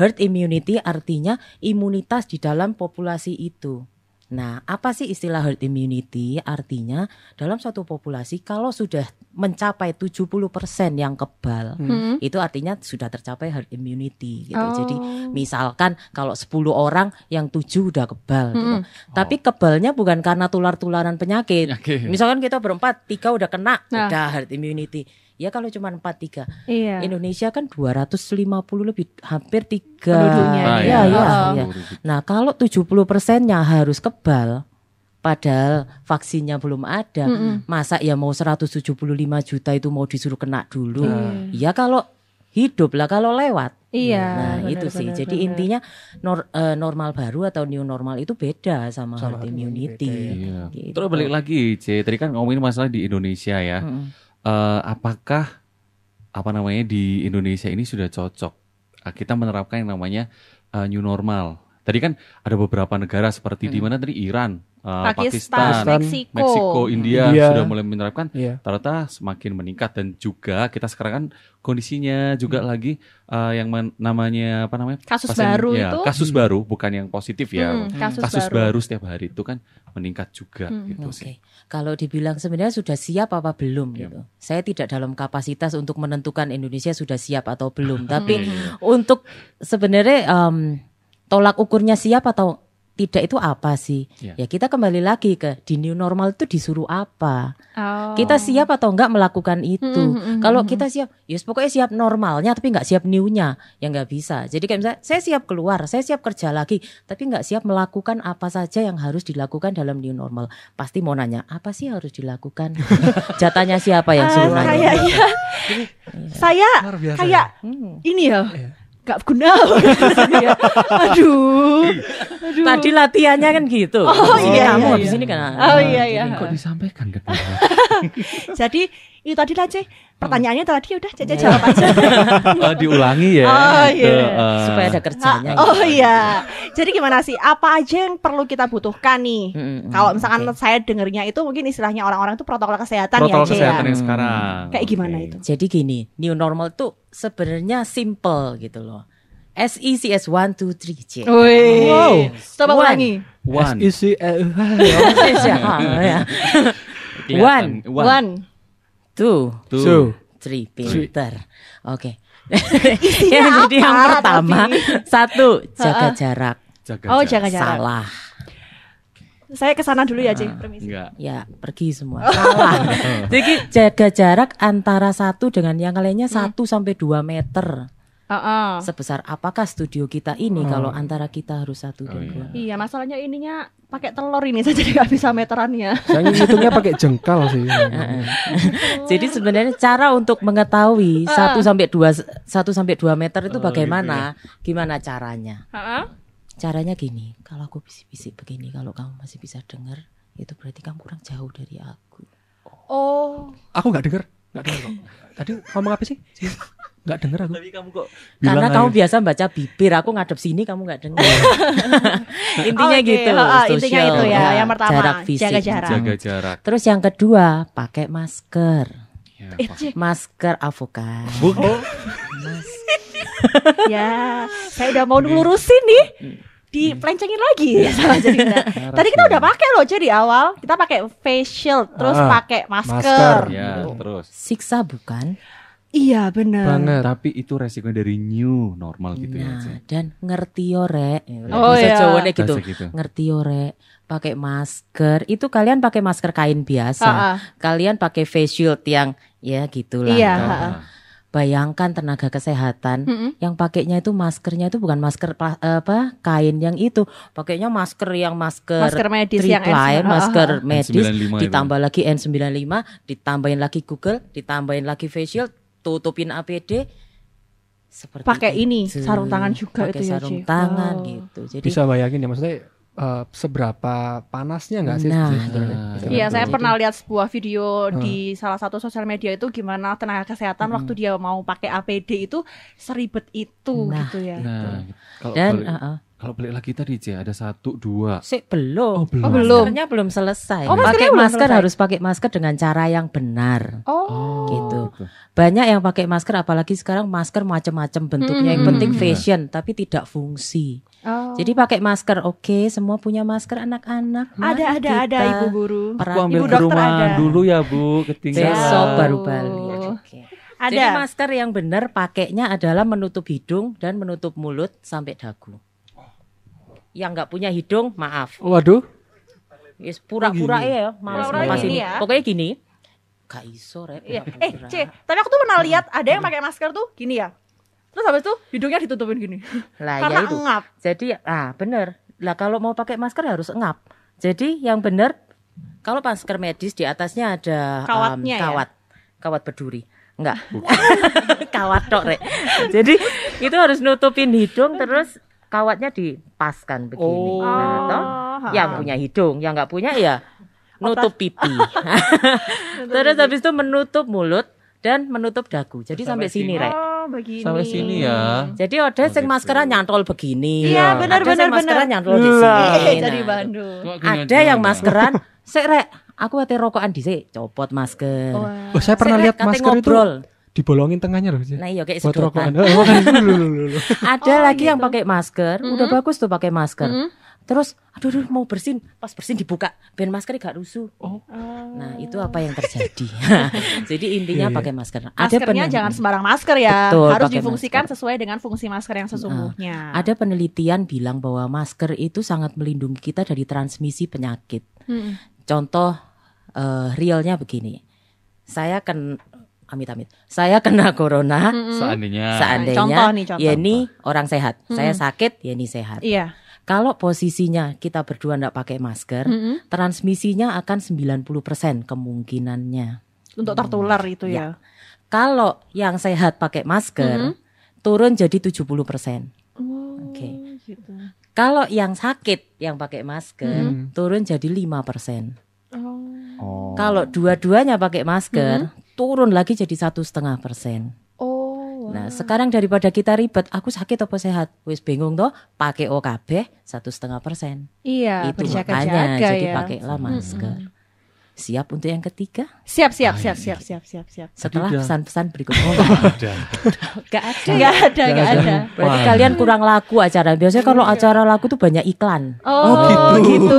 F: Herd immunity artinya imunitas di dalam populasi itu. Nah, apa sih istilah herd immunity? Artinya dalam suatu populasi kalau sudah mencapai 70% yang kebal,
D: Hmm.
F: itu artinya sudah tercapai herd immunity gitu. Jadi
D: Oh.
F: misalkan kalau 10 orang yang 7 udah kebal gitu.
D: Hmm.
F: Tapi kebalnya bukan karena tular-tularan penyakit.
E: Oh. Penyakit.
F: Misalkan kita berempat, tiga udah kena,
D: Nah.
F: udah herd immunity. Ya kalau cuma 4 3.
D: Iya.
F: Indonesia kan 250 lebih hampir 3.
D: Penduduknya,
E: Ah,
F: ya,
E: iya.
F: ya,
D: Oh.
F: ya. Nah, kalau 70 persennya harus kebal, padahal vaksinnya belum ada, masa ya mau 175 juta itu mau disuruh kena dulu? Ya kalau hidup lah, kalau lewat.
D: Iya,
F: Nah,
D: benar,
F: itu sih.
D: benar,
F: Jadi
D: benar.
F: intinya nor- eh, normal baru atau new normal itu beda sama,
C: Sama herd
F: herd immunity.
C: immunity,
E: Iya.
F: Gitu.
E: Terus balik lagi, C. Tadi kan ngomongin masalah di Indonesia ya.
F: Mm-mm.
E: Eh, apakah apa namanya di Indonesia ini sudah cocok Eh, kita menerapkan yang namanya eh, new normal? Tadi kan ada beberapa negara seperti di mana tadi Iran, eh,
D: Oh, Pakistan,
E: Pakistan,
D: Meksiko. Hmm.
E: Meksiko, India
C: India.
E: sudah mulai menerapkan.
C: Iya.
E: Ternyata semakin meningkat dan juga kita sekarang kan kondisinya juga lagi eh, yang men- namanya apa namanya
D: Hmm. Kasus
E: Pasien-
D: baru
E: ya,
D: itu.
E: kasus baru bukan yang positif ya.
D: Hmm, kasus, baru.
E: kasus
D: Hmm,
E: baru. setiap hari itu kan meningkat juga gitu
F: Oke.
E: sih.
F: Kalau dibilang sebenarnya sudah siap apa belum
E: Iya.
F: gitu. Saya tidak dalam kapasitas untuk menentukan Indonesia sudah siap atau belum, tapi
E: Iya, iya.
F: untuk sebenarnya em, tolak ukurnya siap atau tidak itu apa sih?
E: Iya.
F: Ya kita kembali lagi ke di new normal itu disuruh apa?
D: Oh.
F: Kita siap atau enggak melakukan itu?
D: Mm, mm, mm,
F: Kalau
D: mm,
F: kita siap, ya pokoknya siap normalnya tapi enggak siap new-nya, ya enggak bisa. Jadi kayak misalnya saya siap keluar, saya siap kerja lagi, tapi enggak siap melakukan apa saja yang harus dilakukan dalam new normal. Pasti mau nanya, apa sih harus dilakukan? *laughs* Jatanya siapa yang suruh
D: Ah,
F: nanya?
D: kayaknya saya
C: Luar biasa.
D: kayak
F: Hmm.
D: ini ya gak guna *laughs* ya. aduh aduh
F: Tadi latihannya kan gitu.
D: Oh, iya,
F: Kamu
D: iya,
F: habis
D: iya.
F: ini kan.
D: Oh, iya, iya.
E: Kok disampaikan ke kita? *laughs*
D: jadi itu tadi lah Cek pertanyaannya tadi udah Cek Cek jawab
E: *laughs*
D: aja
E: Eh, diulangi ya.
D: Oh,
E: Gitu,
D: iya.
E: eh.
F: supaya ada kerjanya. gitu.
D: Ah, oh iya jadi gimana sih apa aja yang perlu kita butuhkan
E: Mm,
D: nih kalau misalkan saya dengernya itu mungkin istilahnya orang-orang itu protokol kesehatan ya
E: protokol
D: Cek
E: kesehatan yang
F: Hmm.
E: sekarang.
D: kayak gimana
E: Oke.
D: itu
F: Jadi gini, new normal tuh sebenarnya simple gitu loh. S E C S 1 2 3 C. *laughs*
D: Wih,
C: Wow.
D: coba
F: One.
D: ulangi.
E: One.
C: Isi
F: Iya.
D: *laughs*
F: *laughs* Ya.
E: Kelihatan.
D: One,
F: Two,
E: Two.
C: So,
F: three,
E: Three.
F: pinter. Oke.
D: *laughs* Isinya
F: Ya, *laughs* jadi yang
D: apa,
F: pertama,
D: tapi?
F: satu jaga
D: Ha-ha.
F: jarak.
E: Jaga
D: Oh, jaga
E: jarak.
D: jarak.
F: Salah.
D: Saya kesana dulu ya, Cek.
E: Ah.
D: Permisi.
E: Enggak.
F: Ya, pergi
D: *laughs*
E: *laughs*
F: semua. Salah. Jadi jaga jarak antara satu dengan yang lainnya
D: Hmm.
F: satu sampai dua meter.
D: Heeh.
F: Sebesar apakah studio kita ini kalau antara kita harus satu
E: Hmm. Oh,
F: dan
E: iya.
F: dua
D: Iya, masalahnya ininya pakai telur ini *laughs* saya jadi nggak bisa ya. meterannya.
C: saya ngitungnya pakai jengkal sih.
F: Jadi sebenarnya cara untuk mengetahui
D: Ah.
F: 1 sampai 2 1 sampai 2 meter
E: Oh,
F: itu bagaimana?
D: gitu ya.
F: Gimana caranya?
D: Heeh.
F: Caranya gini, kalau aku bisik-bisik begini, kalau kamu masih bisa dengar, itu berarti kamu kurang jauh dari aku.
D: Oh,
C: Aku nggak denger, nggak denger kok. Tadi ngomong apa sih? Nggak denger aku.
E: Tapi kamu kok
F: Karena
E: bilang
F: kamu
E: aja.
F: biasa baca bibir, aku ngadep sini kamu nggak dengar.
E: Iya.
F: *laughs* intinya
D: Oke,
F: gitu.
D: ha-ha,
F: social,
D: intinya itu ya. Yang pertama,
F: jarak
D: jaga
F: fisik. Hmm.
D: jarak.
E: jaga jarak.
F: Terus yang kedua, pakai masker.
E: Ya,
D: eh,
E: Pak.
D: Cek.
F: Masker avokat.
E: Bu-
D: ya, saya udah mau ngelurusin nih.
E: Hmm.
D: Dipelencengin lagi
E: Iya.
D: sama jadinya. Tadi kita udah pakai loh jadi awal. Kita pakai facial, terus
C: Ah,
D: pakai masker.
C: masker.
E: Ya, terus.
F: Siksa bukan?
D: Iya, bener
C: Banget.
E: Tapi itu resikonya dari new normal gitu ya.
F: Nah,
E: Cek.
F: dan ngerti yo rek. Ya,
D: Oh,
F: bahasa
D: iya.
F: Jawanya gitu.
E: Bahasa gitu.
F: Ngerti yo rek. Pakai masker. Itu kalian pakai masker kain biasa.
D: Ha-ha.
F: Kalian pakai face shield yang ya gitulah.
D: Iya,
E: Nah,
F: Kan.
D: ha-ha.
F: Bayangkan tenaga kesehatan
D: Mm-mm.
F: yang pakainya itu maskernya itu bukan masker pla- apa kain yang itu. Pakainya masker yang masker,
D: Masker medis
F: three
D: yang
F: ply,
D: N95.
F: masker
D: Ha-ha.
F: medis,
E: N95 ya,
F: ditambah lagi N95, ditambahin lagi Google, ditambahin lagi face shield, tutupin APD. Seperti
D: Pakai ini,
F: itu.
D: sarung tangan juga
F: Pakai
D: itu ya,
F: sarung
D: Ci.
F: tangan
D: Wow.
F: gitu. Jadi
C: Bisa bayangin ya maksudnya eh, seberapa panasnya nggak sih?
F: Nah,
C: sebenarnya?
E: iya.
C: Sebenarnya.
D: Iya, saya
F: Jadi-
D: pernah lihat sebuah video di salah satu sosial media itu gimana tenaga kesehatan waktu dia mau pakai APD itu seribet itu
F: Nah,
D: gitu ya.
E: Nah, kalau
F: dan
E: balik,
F: uh-uh.
E: kalau balik lagi tadi C ada satu dua.
F: Sik,
E: Oh,
F: belum.
E: belum.
D: Oh, belum.
F: Maskernya belum selesai.
D: Oh, maskernya
F: pakai
D: belum
F: masker
D: selesai.
F: harus pakai masker dengan cara yang benar.
D: Oh,
E: Oh,
F: Gitu. Banyak yang pakai masker apalagi sekarang masker macam-macam bentuknya. Yang
D: Hmm.
F: penting
E: Iya.
F: fashion tapi tidak fungsi.
D: Oh.
F: Jadi pakai masker oke, semua punya masker
D: ada
F: anak-anak. Mari
D: ada ada
F: kita
D: ibu guru.
F: peran-
E: Aku ambil
D: Ibu
E: ke
D: dokter
E: rumah
D: ada.
E: dulu ya Bu, ketinggalan.
F: Besok
D: Wow.
F: baru balik. Oke.
D: Ada.
F: Jadi masker yang benar pakainya adalah menutup hidung dan menutup mulut sampai dagu. Yang nggak punya hidung, maaf.
C: Waduh,
F: Yes, pura-pura ya, males
D: Pura-pura
F: ngelepas
D: gini
F: ini.
D: ya.
F: Pokoknya gini. Gak iso, Rek.
D: Iya.
F: pura-pura.
D: Eh, C, tapi aku tuh pernah lihat ada yang pakai masker tuh gini ya. Terus habis itu hidungnya ditutupin gini.
F: Lah, ya
D: Karena
F: itu.
D: engap.
F: Jadi, ah bener. Lah kalau mau pakai masker harus engap. Jadi yang bener, kalau masker medis di atasnya ada em,
D: Kawatnya ya?
F: kawat. Kawat berduri. Enggak. *laughs* kawat tok, Rek. Jadi itu harus nutupin hidung terus kawatnya dipaskan begini.
C: Oh.
F: Nah, toh,
D: ya,
F: yang punya hidung, yang nggak punya ya nutup
D: *laughs*
F: pipi. *laughs* Terus habis itu menutup mulut dan menup dagu. Jadi sampai,
E: Sampai
F: sini,
E: sini.
F: Rek.
D: Oh, begini.
E: Sampai sini ya.
F: Jadi ada sing
E: gitu.
F: maskeran nyantol begini.
D: Iya,
F: Ada
D: benar,
F: sing
D: benar,
F: maskeran
D: benar.
F: nyantol di sini.
D: Eh, jadi
F: Nah,
D: Bandung.
E: Cuma aku ingat
F: ada yang
E: doang,
F: maskeran, *laughs* "Sik, Rek, aku ate rokokan dhisik, copot masker."
C: Oh, saya pernah
F: Sik, Rek,
C: lihat
F: kate
C: masker itu
F: ngobrol.
C: dibolongin tengahnya loh. Ci.
F: Nah, iya kayak
C: buat
F: sedotan. *laughs*
C: rokokan. Oh, bukan. Lulu, lulu,
D: gitu.
C: lulu.
D: Mm-hmm.
F: Ada lagi yang pakai masker, udah bagus tuh pakai masker. Terus aduh, aduh mau bersin, pas bersin dibuka, ben masker gak rusuh.
C: Oh.
F: Nah, itu apa yang
C: *laughs*
F: terjadi? *laughs* Jadi
C: Iya,
F: intinya
C: iya.
F: pakai masker.
D: Maskernya
F: penelitian-
D: jangan sembarang masker ya.
F: Betul,
D: Harus
F: pakai
D: difungsikan sesuai dengan fungsi masker yang sesungguhnya.
F: Ada penelitian bilang bahwa masker itu sangat melindungi kita dari transmisi penyakit.
D: Mm-mm.
F: Contoh eh, realnya begini. Saya ken amit-amit. Saya kena corona
E: Seandainya.
D: Mm-hmm.
F: seandainya
D: Contoh nih, contoh.
F: Yeni orang sehat. Saya
D: Mm.
F: sakit, Yeni sehat.
D: Iya.
F: Kalau posisinya kita berdua tidak pakai masker,
D: Mm-mm.
F: transmisinya akan 90% kemungkinannya.
D: Untuk tertular itu ya.
F: Kalau yang sehat pakai masker, turun jadi 70%. Oke.
D: gitu.
F: Kalau yang sakit yang pakai
D: Hmm.
F: masker turun jadi 5%.
E: Oh.
F: Kalau dua-duanya pakai masker turun lagi jadi satu setengah persen.
D: Oh.
F: Nah sekarang daripada kita ribet, aku sakit apa sehat? Wis bingung toh, pakai OKB satu setengah persen.
D: Iya,
F: Itu Gitu, makanya
D: berjaga-jaga
F: jadi
D: ya.
F: pakailah masker. Siap untuk yang ketiga?
D: Siap, siap, siap, siap, siap, siap, siap.
F: Setelah
E: Tidak.
F: pesan-pesan
E: *laughs*
F: berikutnya.
D: Gak ada, ya? gak ada, gak ada.
F: Berarti kalian kurang laku acara. Biasanya kalau
D: Iya.
F: acara laku tuh banyak iklan.
D: Oh, gitu.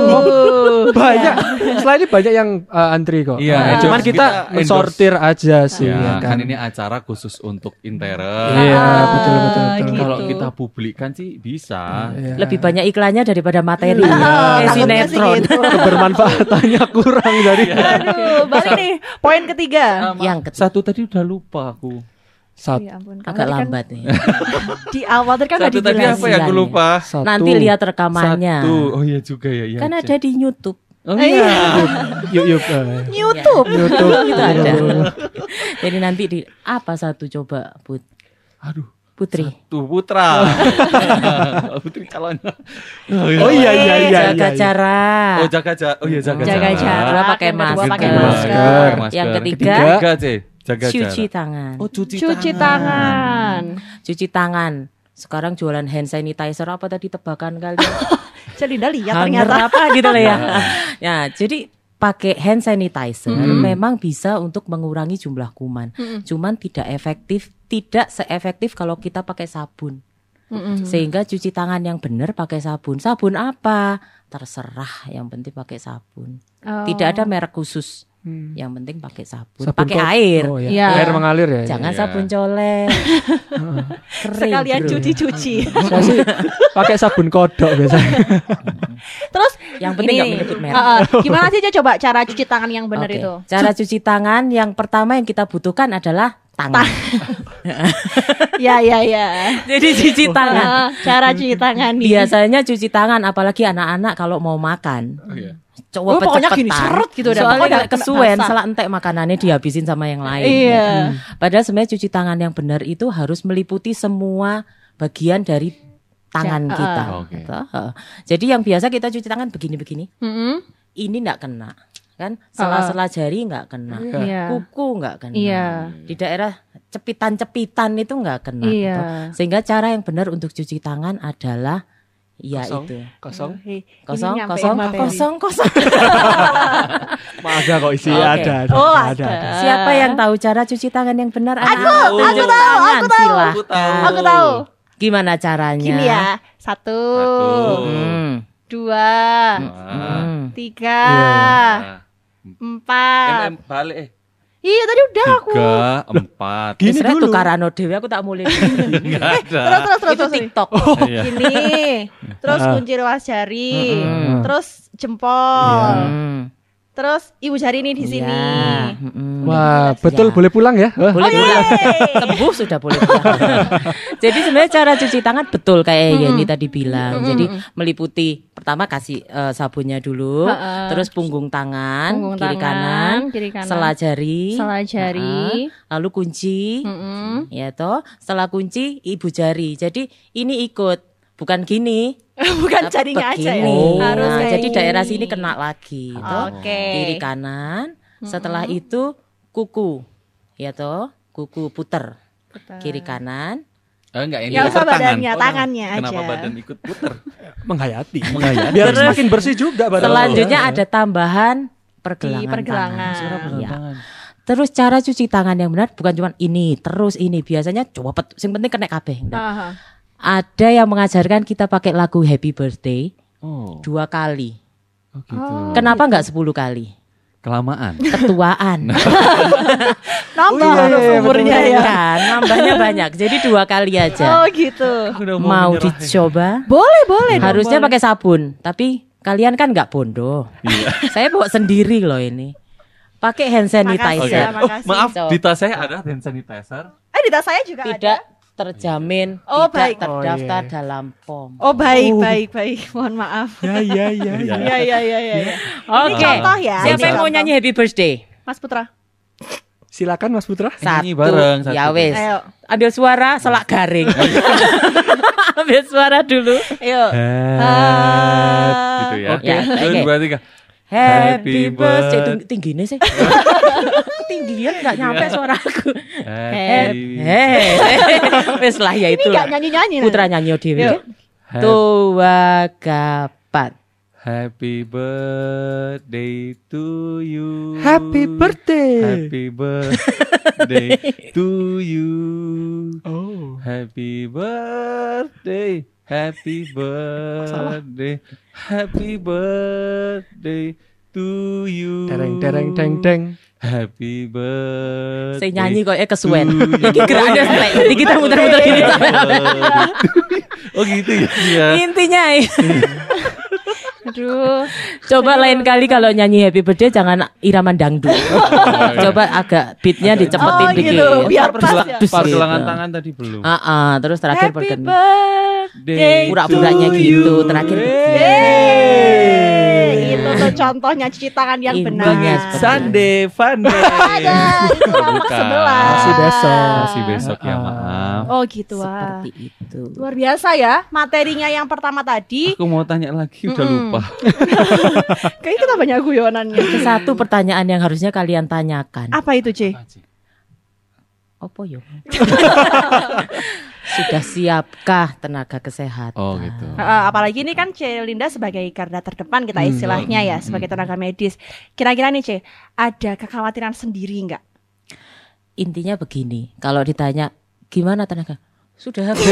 C: banyak. Setelah ini banyak yang eh, antri kok.
E: Iya,
C: Nah,
E: endorse-
C: cuman kita,
E: kita endorse.
C: sortir aja sih.
E: Ya,
C: ya
E: kan ini acara khusus untuk Intera.
C: Iya, betul betul. betul.
D: gitu.
E: Kalau kita publikkan sih bisa.
C: Iya.
F: Lebih banyak iklannya daripada materi.
D: Iya.
F: Kayak
D: Takutnya sih
F: sinetron.
D: gitu.
C: Kebermanfaatannya kurang dari
D: Aduh, balik nih. Poin ketiga.
F: Yang ketiga.
E: Satu tadi udah lupa aku.
C: satu.
D: Ya ampun,
F: agak
D: tadi kan
F: lambat nih.
D: Di awal tadi kan udah
E: Satu tadi
D: dibilang.
E: apa ya aku
F: Jelasin.
E: lupa.
C: satu.
F: Nanti lihat rekamannya.
E: Satu. Oh iya juga ya. Iya
F: Kan
E: aja.
F: ada di YouTube.
E: Oh iya.
C: Yuk yuk. eh,
D: YouTube.
C: YouTube. Oh, iya.
F: Itu
E: Oh.
F: ada. *laughs* Jadi nanti di apa satu coba Put
E: Aduh.
F: Putri.
E: Tuh *laughs* Putra. Putri calonnya. Oh
C: Oh iya iya iya.
F: Jaga
C: iya, iya.
F: cara.
E: Oh jaga jarak. Oh iya jaga jarak.
D: Jaga
F: Dua
D: jarak.
F: pakai
D: yang kedua
F: masker.
D: pakai
E: Kedua
D: masker.
E: pakai masker.
F: Yang ketiga,
E: Ketiga, C. Jaga
F: cuci
E: jarak.
F: tangan.
E: Oh cuci,
D: Cuci tangan.
F: Cuci tangan. Sekarang jualan hand sanitizer apa tadi tebakan
D: *laughs*
F: kali.
D: Celinda lihat
F: Hanger
D: Ya, ternyata.
F: apa gitu lah ya. *laughs* ya, jadi pakai hand sanitizer memang bisa untuk mengurangi jumlah kuman.
D: Hmm.
F: Cuman tidak efektif, tidak seefektif kalau kita pakai sabun.
D: Hmm.
F: Sehingga cuci tangan yang benar pakai sabun. Sabun apa? Terserah, yang penting pakai sabun.
D: Oh.
F: Tidak ada merek khusus.
D: Hmm.
F: Yang penting pakai sabun,
C: Sabun
F: pakai
C: kok-
F: air.
C: Oh, iya.
D: Iya.
C: Air mengalir ya.
F: Jangan
E: Iya.
F: sabun colek. Kering. Gitu.
D: Sekalian
C: Kering.
D: cuci-cuci.
C: Saya sih pakai sabun kodok biasanya.
D: Terus
F: Yang penting
D: ini,
F: nggak menyebut merek. *laughs*
D: uh, uh, gimana sih coba cara cuci tangan yang benar
F: Oke.
D: itu?
F: Cara cuci tangan yang pertama yang kita butuhkan adalah tangan.
D: Ya ya ya.
F: *laughs* Jadi cuci tangan.
D: Uh, cara cuci tangan nih.
F: Biasanya cuci tangan apalagi anak-anak kalau mau makan.
E: Oh iya.
F: Coba
D: Oh, pokoknya
F: pecepetan.
D: gini, seret gitu udah.
F: Soalnya
D: Pokoknya
F: nggak kesuwen,
D: basah.
F: salah entek makanannya dihabisin sama yang lain.
D: Iya.
F: ya. Padahal sebenarnya cuci tangan yang benar itu harus meliputi semua bagian dari tangan
D: Ja-
F: kita.
E: ah. Oke.
F: Gitu. Jadi yang biasa kita cuci tangan begini-begini,
D: Mm-mm.
F: ini nggak kena, kan? Sela-sela jari nggak kena,
D: Iya.
F: kuku nggak kena,
D: Iya.
F: di daerah cepitan-cepitan itu nggak kena.
D: Iya.
F: gitu. Sehingga cara yang benar untuk cuci tangan adalah ya
C: Kosong.
F: itu
C: Kosong.
D: Hei, ini
F: kosong
D: nyampein
F: kosong
D: materi.
F: kosong kosong.
C: Ada kok isi
F: Oke.
C: ada ada.
D: Oh,
C: ada, ada.
F: *laughs* Siapa yang tahu cara cuci tangan yang benar? Eh. Aku,
E: aku tahu,
F: aku tahu,
E: Aku tahu.
D: Aku tahu.
F: Gimana caranya?
D: Gini ya. Satu,
E: Satu.
F: Hmm.
D: dua,
E: Wah.
F: Hmm.
D: tiga,
E: Nah.
D: empat.
E: MM balik eh.
D: Iya tadi udah aku.
E: Tiga, empat.
C: Gini
F: Isra
C: dulu.
F: tukarano dewe aku
C: *laughs*
F: tak mulai.
E: Enggak
D: *laughs*
E: ada.
D: Terus terus terus
F: Itu
D: terus.
F: TikTok.
C: Oh.
E: Iya.
D: Gini. Terus
E: Ah.
D: kunci ruas jari.
C: Mm-mm.
D: Terus jempol.
E: Iya.
F: Hmm.
D: Terus ibu jari ini di sini.
F: Ya. Hmm.
C: Wah, betul boleh pulang ya?
D: Oh, iya,
C: Hah?
F: boleh pulang. Sembuh sudah boleh pulang.
D: *laughs*
F: Jadi sebenarnya cara cuci tangan betul kayak Yeni tadi bilang. Jadi meliputi pertama kasih eh, sabunnya dulu,
D: Ha-ha.
F: terus punggung tangan,
D: Punggung
F: kiri
D: tangan,
F: kanan,
D: kiri kanan.
F: sela jari,
D: Sela jari.
F: Ha-ha. lalu kunci,
D: Mm-mm. *laughs*
F: ya toh, setelah kunci ibu jari. Jadi ini ikut bukan gini.
D: Bukan
F: tapi
D: jarinya aja ya.
F: begini.
E: Oh.
D: Harus
F: Nah,
D: kayak
F: jadi
D: gini.
F: daerah sini kena lagi, gitu. toh
D: Oke.
F: kiri kanan. Setelah itu kuku, ya toh, kuku puter, kiri kanan.
E: Eh, enggak ini.
D: Nggak usah
E: puter tangan.
D: badannya,
E: Oh, nah.
D: tangannya
E: Kenapa
D: aja.
E: badan ikut puter?
C: Menghayati.
E: Menghayati.
C: Biar semakin bersih juga badan.
F: Selanjutnya ada tambahan pergelangan,
D: Di pergelangan.
F: tangan.
D: Suruh
F: Iya. Terus cara cuci tangan yang benar bukan cuma ini, terus ini. Biasanya coba
D: Ah.
F: pet, yang penting kena kabeh.
D: Aha.
F: Ada yang mengajarkan kita pakai lagu Happy Birthday
E: Oh.
F: dua kali.
E: oh gitu.
F: Kenapa nggak 10 kali?
E: Kelamaan.
F: Ketuaan.
D: Nambah
C: Oh, iya,
D: loh
C: iya, iya,
D: umurnya ya.
F: Kan, nambahnya banyak. Jadi dua kali aja.
D: Oh gitu.
F: mau dicoba?
D: Boleh, boleh. dong,
F: Iya. Harusnya
D: boleh.
F: pakai sabun, tapi kalian kan nggak bondo. *laughs* Saya bawa sendiri loh ini. Pakai hand
E: Oke.
D: Makasih,
F: sanitizer.
E: Oh,
D: makasih.
E: maaf,
F: Cok.
E: di tas saya ada hand sanitizer.
D: Eh, di tas saya juga
F: Tidak
D: ada.
F: terjamin,
D: Oh, baik.
F: tidak
C: Oh,
F: terdaftar
C: iya.
F: dalam POM.
D: Oh, baik, baik, baik. *laughs* Mohon maaf.
C: Ya ya
D: *laughs*
C: ya. ya.
D: Iya, iya, iya, iya. iya.
F: Oke.
D: Contoh ya.
F: Siapa
D: ini
F: yang mau
D: contoh.
F: nyanyi Happy Birthday?
D: Mas Putra.
C: Silakan Mas Putra.
E: nyanyi bareng, satu.
F: Ya wes.
D: Ayo.
F: Ambil suara selak garing. *laughs* Ambil suara dulu.
D: Ayo.
E: gitu ya.
F: Oke,
E: Satu,
F: oke.
E: dua, tiga.
F: Happy
E: Happy
F: birthday.
E: birth-
F: Itu tingginya sih. Ketinggian nggak nyampe suaraku.
E: Happy-
F: Hei. eh. *laughs* Wes lah ya
D: Ini
F: itu.
D: gak nyanyi-nyanyi. nanti.
F: Putra nyanyi dhewe.
D: Yuk.
E: Hap-
F: Tua kapat.
E: Happy birthday to you.
C: Happy birthday.
E: Happy birthday to you.
C: Oh.
E: Happy birthday, happy birthday, happy birthday to you.
C: Tereng tereng teng
F: Hmm.
C: teng.
E: Happy birthday.
F: Saya nyanyi kok eh kesuwen.
E: to you.
F: *laughs* Iki geraknya sampai jadi kita muter-muter gini sampai habis.
E: oh gitu ya. Iya.
F: Intinya ya.
D: Aduh.
F: Coba lain kali kalau nyanyi Happy Birthday jangan iraman dangdut. Coba agak beatnya dicepetin
D: Oh,
F: dikit.
D: gitu. Biar
E: Pergela-
D: pas ya.
E: Pergelangan
F: Gitu.
E: tangan tadi belum.
F: Ah, ah, terus terakhir
D: Happy
F: pergen.
D: birthday.
F: Pura-puranya
D: to you.
F: gitu, terakhir.
D: Yeay. Itu gitu tuh contohnya cuci tangan yang
F: Ini
D: benar.
F: ya, seperti-
E: Sunday fun day.
D: Ada, itu kelompok
E: Bukan.
D: sebelah.
C: Masih besok.
E: Masih besok ya, maaf.
D: Oh gitu wah.
F: Seperti itu.
D: Luar biasa ya materinya yang pertama tadi.
E: Aku mau tanya lagi udah lupa.
D: Kayaknya kita banyak guyonannya.
F: Ke Satu pertanyaan yang harusnya kalian tanyakan.
D: Apa itu, C?
F: Apa yo? *laughs* Sudah siapkah tenaga kesehatan?
E: Oh gitu.
D: Heeh, apalagi ini kan C Linda sebagai garda terdepan kita istilahnya ya sebagai tenaga medis. Kira-kira nih C, ada kekhawatiran sendiri *laughs* nggak?
F: Intinya begini, kalau ditanya gimana tenaga? Sudah
E: *laughs*
F: habis.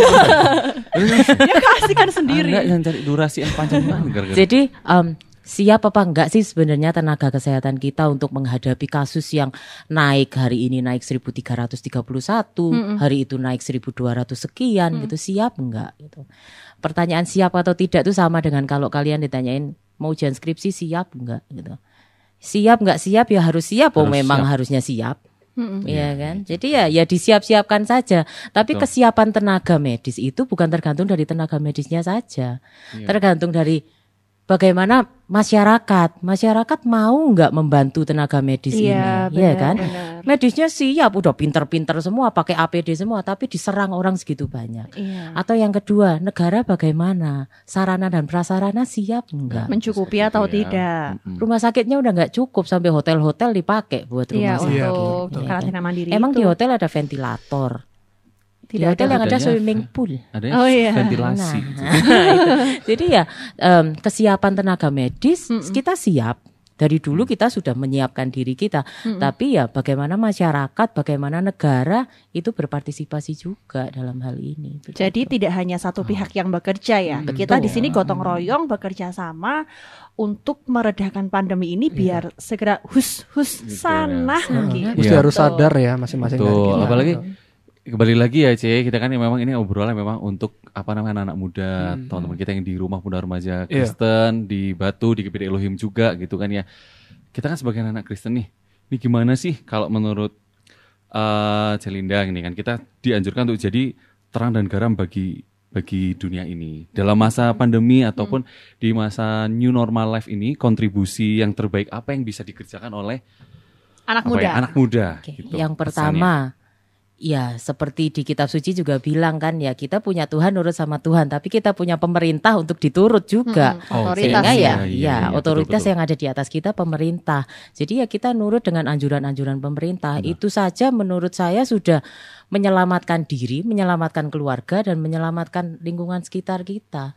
D: Dia kasihkan Ya, sendiri.
E: Anda yang cari durasi yang panjang banget gara-gara.
F: Jadi em, siap apa enggak sih sebenarnya tenaga kesehatan kita untuk menghadapi kasus yang naik hari ini naik 1331, hari itu naik 1200 sekian gitu. Siap enggak gitu. Pertanyaan siap atau tidak itu sama dengan kalau kalian ditanyain mau ujian skripsi siap enggak gitu. Siap enggak siap ya harus siap oh
E: Harus
F: memang
E: siap.
F: harusnya siap. Iya kan, jadi ya ya disiap-siapkan saja. Tapi kesiapan tenaga medis itu bukan tergantung dari tenaga medisnya saja, tergantung dari bagaimana masyarakat, masyarakat mau nggak membantu tenaga medis
D: Iya,
F: ini, iya
D: benar,
F: kan?
D: benar.
F: Medisnya siap, udah pinter-pinter semua, pakai APD semua, tapi diserang orang segitu banyak.
D: Iya.
F: Atau yang kedua, negara bagaimana, sarana dan prasarana siap enggak?
D: Mencukupi
F: iya.
D: atau tidak?
F: Rumah sakitnya udah nggak cukup sampai hotel-hotel dipakai buat
D: Iya
F: rumah sakit.
D: untuk
F: Iya kan?
D: karantina mandiri.
F: Emang
D: itu.
F: di hotel ada ventilator. Di
D: Tidak
F: hotel
E: ada.
F: yang ada
E: Adanya-
F: swimming pool.
E: Ada
D: Oh, iya.
E: ventilasi.
F: Nah, itu. Jadi ya em, kesiapan tenaga medis kita siap. Dari
D: Mm.
F: dulu kita sudah menyiapkan diri kita, tapi ya bagaimana masyarakat, bagaimana negara itu berpartisipasi juga dalam hal ini.
D: Jadi tidak hanya
E: Hmm.
D: satu pihak yang bekerja ya. Kita di sini gotong royong bekerja sama untuk meredakan pandemi ini biar segera hus hus
E: Iya. Gitu ya.
D: sana gitu.
C: Mesti
E: Iya.
C: harus sadar ya masing-masing dari
E: Betul.
C: kita.
E: Apalagi kembali lagi ya Cie, kita kan memang ini obrolan memang untuk apa namanya anak-anak muda, teman-teman kita yang di rumah muda
C: Iya.
E: remaja Kristen, di Batu, di Gede Elohim juga gitu kan ya. Kita kan sebagai anak Kristen nih, ini gimana sih kalau menurut eh Celinda ini kan kita dianjurkan untuk jadi terang dan garam bagi bagi dunia ini dalam masa pandemi
F: Hmm.
E: ataupun di masa new normal life ini kontribusi yang terbaik apa yang bisa dikerjakan oleh
D: Anak
E: apa
D: muda.
E: ya, anak muda
F: Oke,
E: gitu pesannya.
F: Yang pertama, ya seperti di kitab suci juga bilang kan ya kita punya Tuhan nurut sama Tuhan, tapi kita punya pemerintah untuk diturut juga.
D: Mm-mm,
E: Oh,
D: otoritas
F: Sehingga
E: Iya,
F: ya,
E: iya,
F: ya,
E: iya, betul,
F: otoritas ya.
E: betul.
F: yang ada di atas kita pemerintah. Jadi ya kita nurut dengan anjuran-anjuran pemerintah. Itu saja menurut saya sudah menyelamatkan diri, menyelamatkan keluarga dan menyelamatkan lingkungan sekitar kita.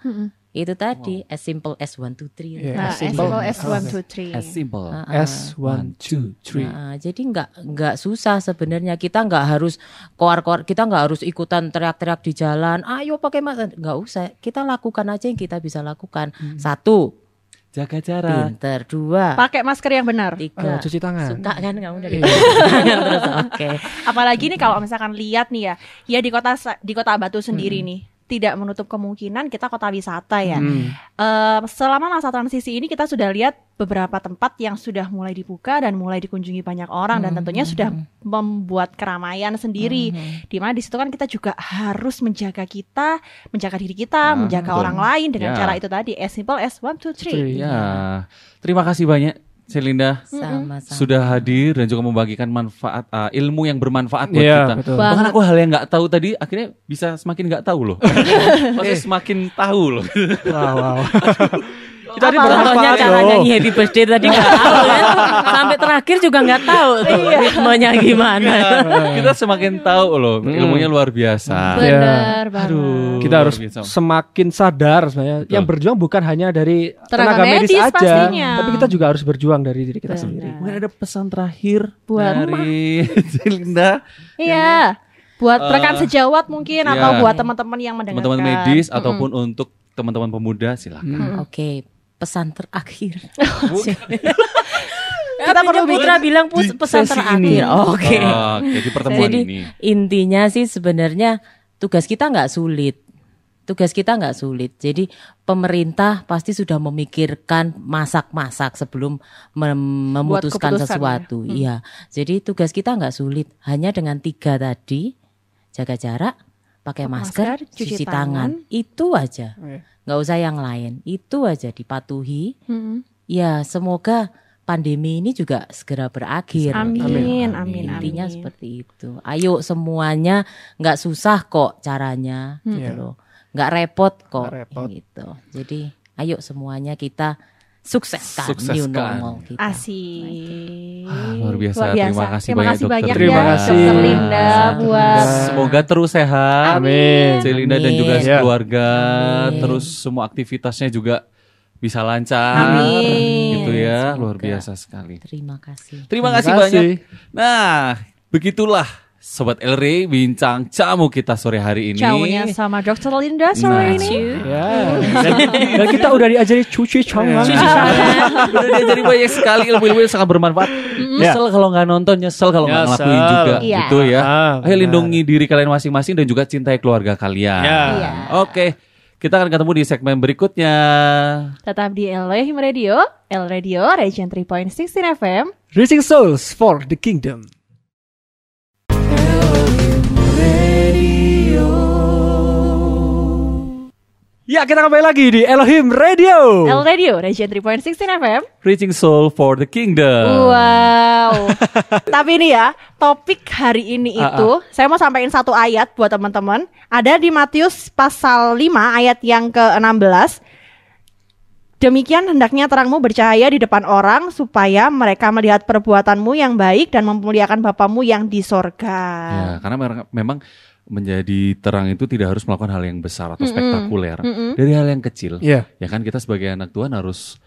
F: Itu tadi as simple as one two three.
C: Iya.
D: Nah,
C: As
D: as
C: simple
D: well as
C: as-
D: one, two, three.
E: As simple.
F: Ah, ah.
C: S one two three.
F: Nah, jadi nggak nggak susah sebenarnya kita nggak harus koar-koar kita nggak harus ikutan teriak-teriak di jalan ayo pakai masker nggak usah kita lakukan aja yang kita bisa lakukan
E: Hmm.
F: satu
A: Jaga jarak.
F: pinter dua
D: Pakai masker yang benar.
C: Eh,
F: tiga
C: cuci
E: Nah.
C: tangan.
F: suka kan kamu dari
C: Iya.
F: tangan terus oke
D: Apalagi nih kalau misalkan lihat nih ya, ya di kota sa- di kota Batu sendiri
E: Hmm.
D: nih tidak menutup kemungkinan kita kota wisata ya.
C: Hmm.
D: Eh, selama masa transisi ini kita sudah lihat beberapa tempat yang sudah mulai dibuka dan mulai dikunjungi banyak orang
E: Hmm.
D: dan tentunya sudah
F: Hmm.
D: membuat keramaian sendiri. Di mana di situ kan kita juga harus menjaga kita, menjaga diri kita,
E: Nah,
D: menjaga
E: betul.
D: orang lain dengan
E: Ya.
D: cara itu tadi as simple as one two three.
F: iya.
C: Three.
E: Ya, terima kasih banyak Celinda
F: sama-sama
E: sudah hadir dan juga membagikan manfaat uh, ilmu yang bermanfaat buat
C: Iya,
E: kita.
C: betul.
E: Bahkan aku hal yang nggak tahu tadi akhirnya bisa semakin nggak tahu
C: *laughs*
E: loh. Maksudnya semakin tahu loh.
C: Iya. Wow, wow.
E: Kita tadi
F: Contohnya
E: bermanfaat
F: cara
E: loh.
F: nyanyi Happy Birthday tadi nggak tahu
E: *laughs*
F: kan sampai terakhir juga nggak tahu tuh
D: Iya.
F: ritmenya gimana
E: Iya. Kita semakin tahu loh. Ilmunya luar biasa. Ya.
C: Benar
D: banget.
E: Aduh,
C: Hmm. Kita harus
E: luar biasa.
C: semakin sadar sebenarnya. Yang berjuang bukan hanya dari tenaga,
D: Tenaga
C: medis,
D: medis
C: aja,
D: pastinya.
C: tapi kita juga harus berjuang dari diri kita sendiri.
E: Mungkin ada pesan terakhir
D: Buat
E: dari Celinda,
D: Iya. Buat rekan
E: Eh,
D: sejawat mungkin
E: iya.
D: atau buat teman-teman yang mendengarkan.
E: teman-teman medis ataupun untuk teman-teman pemuda silakan.
F: Hmm, oke pesan
E: *laughs*
F: terakhir
D: Kita perlu
F: Putra bilang pus-
E: Di
F: pesan
E: sesi
F: terakhir
E: ini.
F: oke
E: Oke, di pertemuan
F: Jadi
E: ini.
F: intinya sih sebenarnya tugas kita nggak sulit. Tugas kita nggak sulit. Jadi pemerintah pasti sudah memikirkan masak-masak sebelum mem- memutuskan
D: keputusan,
F: sesuatu. Iya. Jadi tugas kita nggak sulit. Hanya dengan tiga tadi jaga jarak, pakai masker,
D: masker, cuci
F: cuci, tangan. itu aja.
C: Iya.
F: Nggak usah yang lain. Itu aja dipatuhi.
D: Mm-mm.
F: Ya semoga pandemi ini juga segera berakhir.
D: Amin, amin, amin.
F: Intinya seperti itu. Ayo semuanya nggak susah kok caranya gitu
C: Iya.
F: loh. Nggak repot kok
C: Nggak repot.
F: gitu. Jadi ayo semuanya kita sukseskan, new
E: Sukseskan.
F: normal kita.
D: Asik.
E: luar biasa. Terima kasih banyak,
D: kasih
E: dokter.
D: banyak
C: Terima
D: ya,
C: kasih.
D: Dokter Linda
F: Sama-sama.
D: buat
E: Semoga terus sehat.
C: Amin.
E: Celinda dan juga
F: Amin.
E: keluarga,
F: Amin.
E: terus semua aktivitasnya juga bisa lancar.
D: Amin.
E: Gitu ya,
F: Semoga.
E: luar biasa sekali.
F: Terima kasih.
E: Terima kasih banyak. Nah, begitulah sobat Elri bincang camu kita sore hari ini.
D: Jauhnya sama Dokter Linda
E: Nah.
D: sore ini.
C: Ya. Dan, *laughs* dan kita udah diajari cuci tangan.
E: Udah diajari banyak sekali ilmu-ilmu yang sangat bermanfaat. Nyesel kalau nggak nonton, nyesel kalau nggak
C: Ya. Nyesel.
E: ngelakuin juga,
D: Iya.
E: gitu ya.
C: Ah,
E: Ayo
C: benar.
E: lindungi diri kalian masing-masing dan juga cintai keluarga kalian.
C: Ya.
E: Oke, kita akan ketemu di segmen berikutnya.
D: Tetap di Elohim Radio, El Radio, Region 3.16 FM.
C: Raising souls for the kingdom. Ya, kita kembali lagi di Elohim Radio.
E: Oh.
D: El Radio, Region 3.16 FM.
E: Reaching Soul for the Kingdom. *laughs*
D: Wow. Tapi ini ya, topik hari ini
E: Ah,
D: itu saya mau sampaikan satu ayat buat teman-teman. Ada di Matius pasal 5 ayat yang ke-16. Demikian hendaknya terangmu bercahaya di depan orang supaya mereka melihat perbuatanmu yang baik dan memuliakan Bapamu yang di sorga.
E: Ya, karena mer- memang menjadi terang itu tidak harus melakukan hal yang besar atau spektakuler.
D: Hmm?
E: Dari hal yang kecil.
C: Iya.
E: Ya kan kita sebagai anak Tuhan harus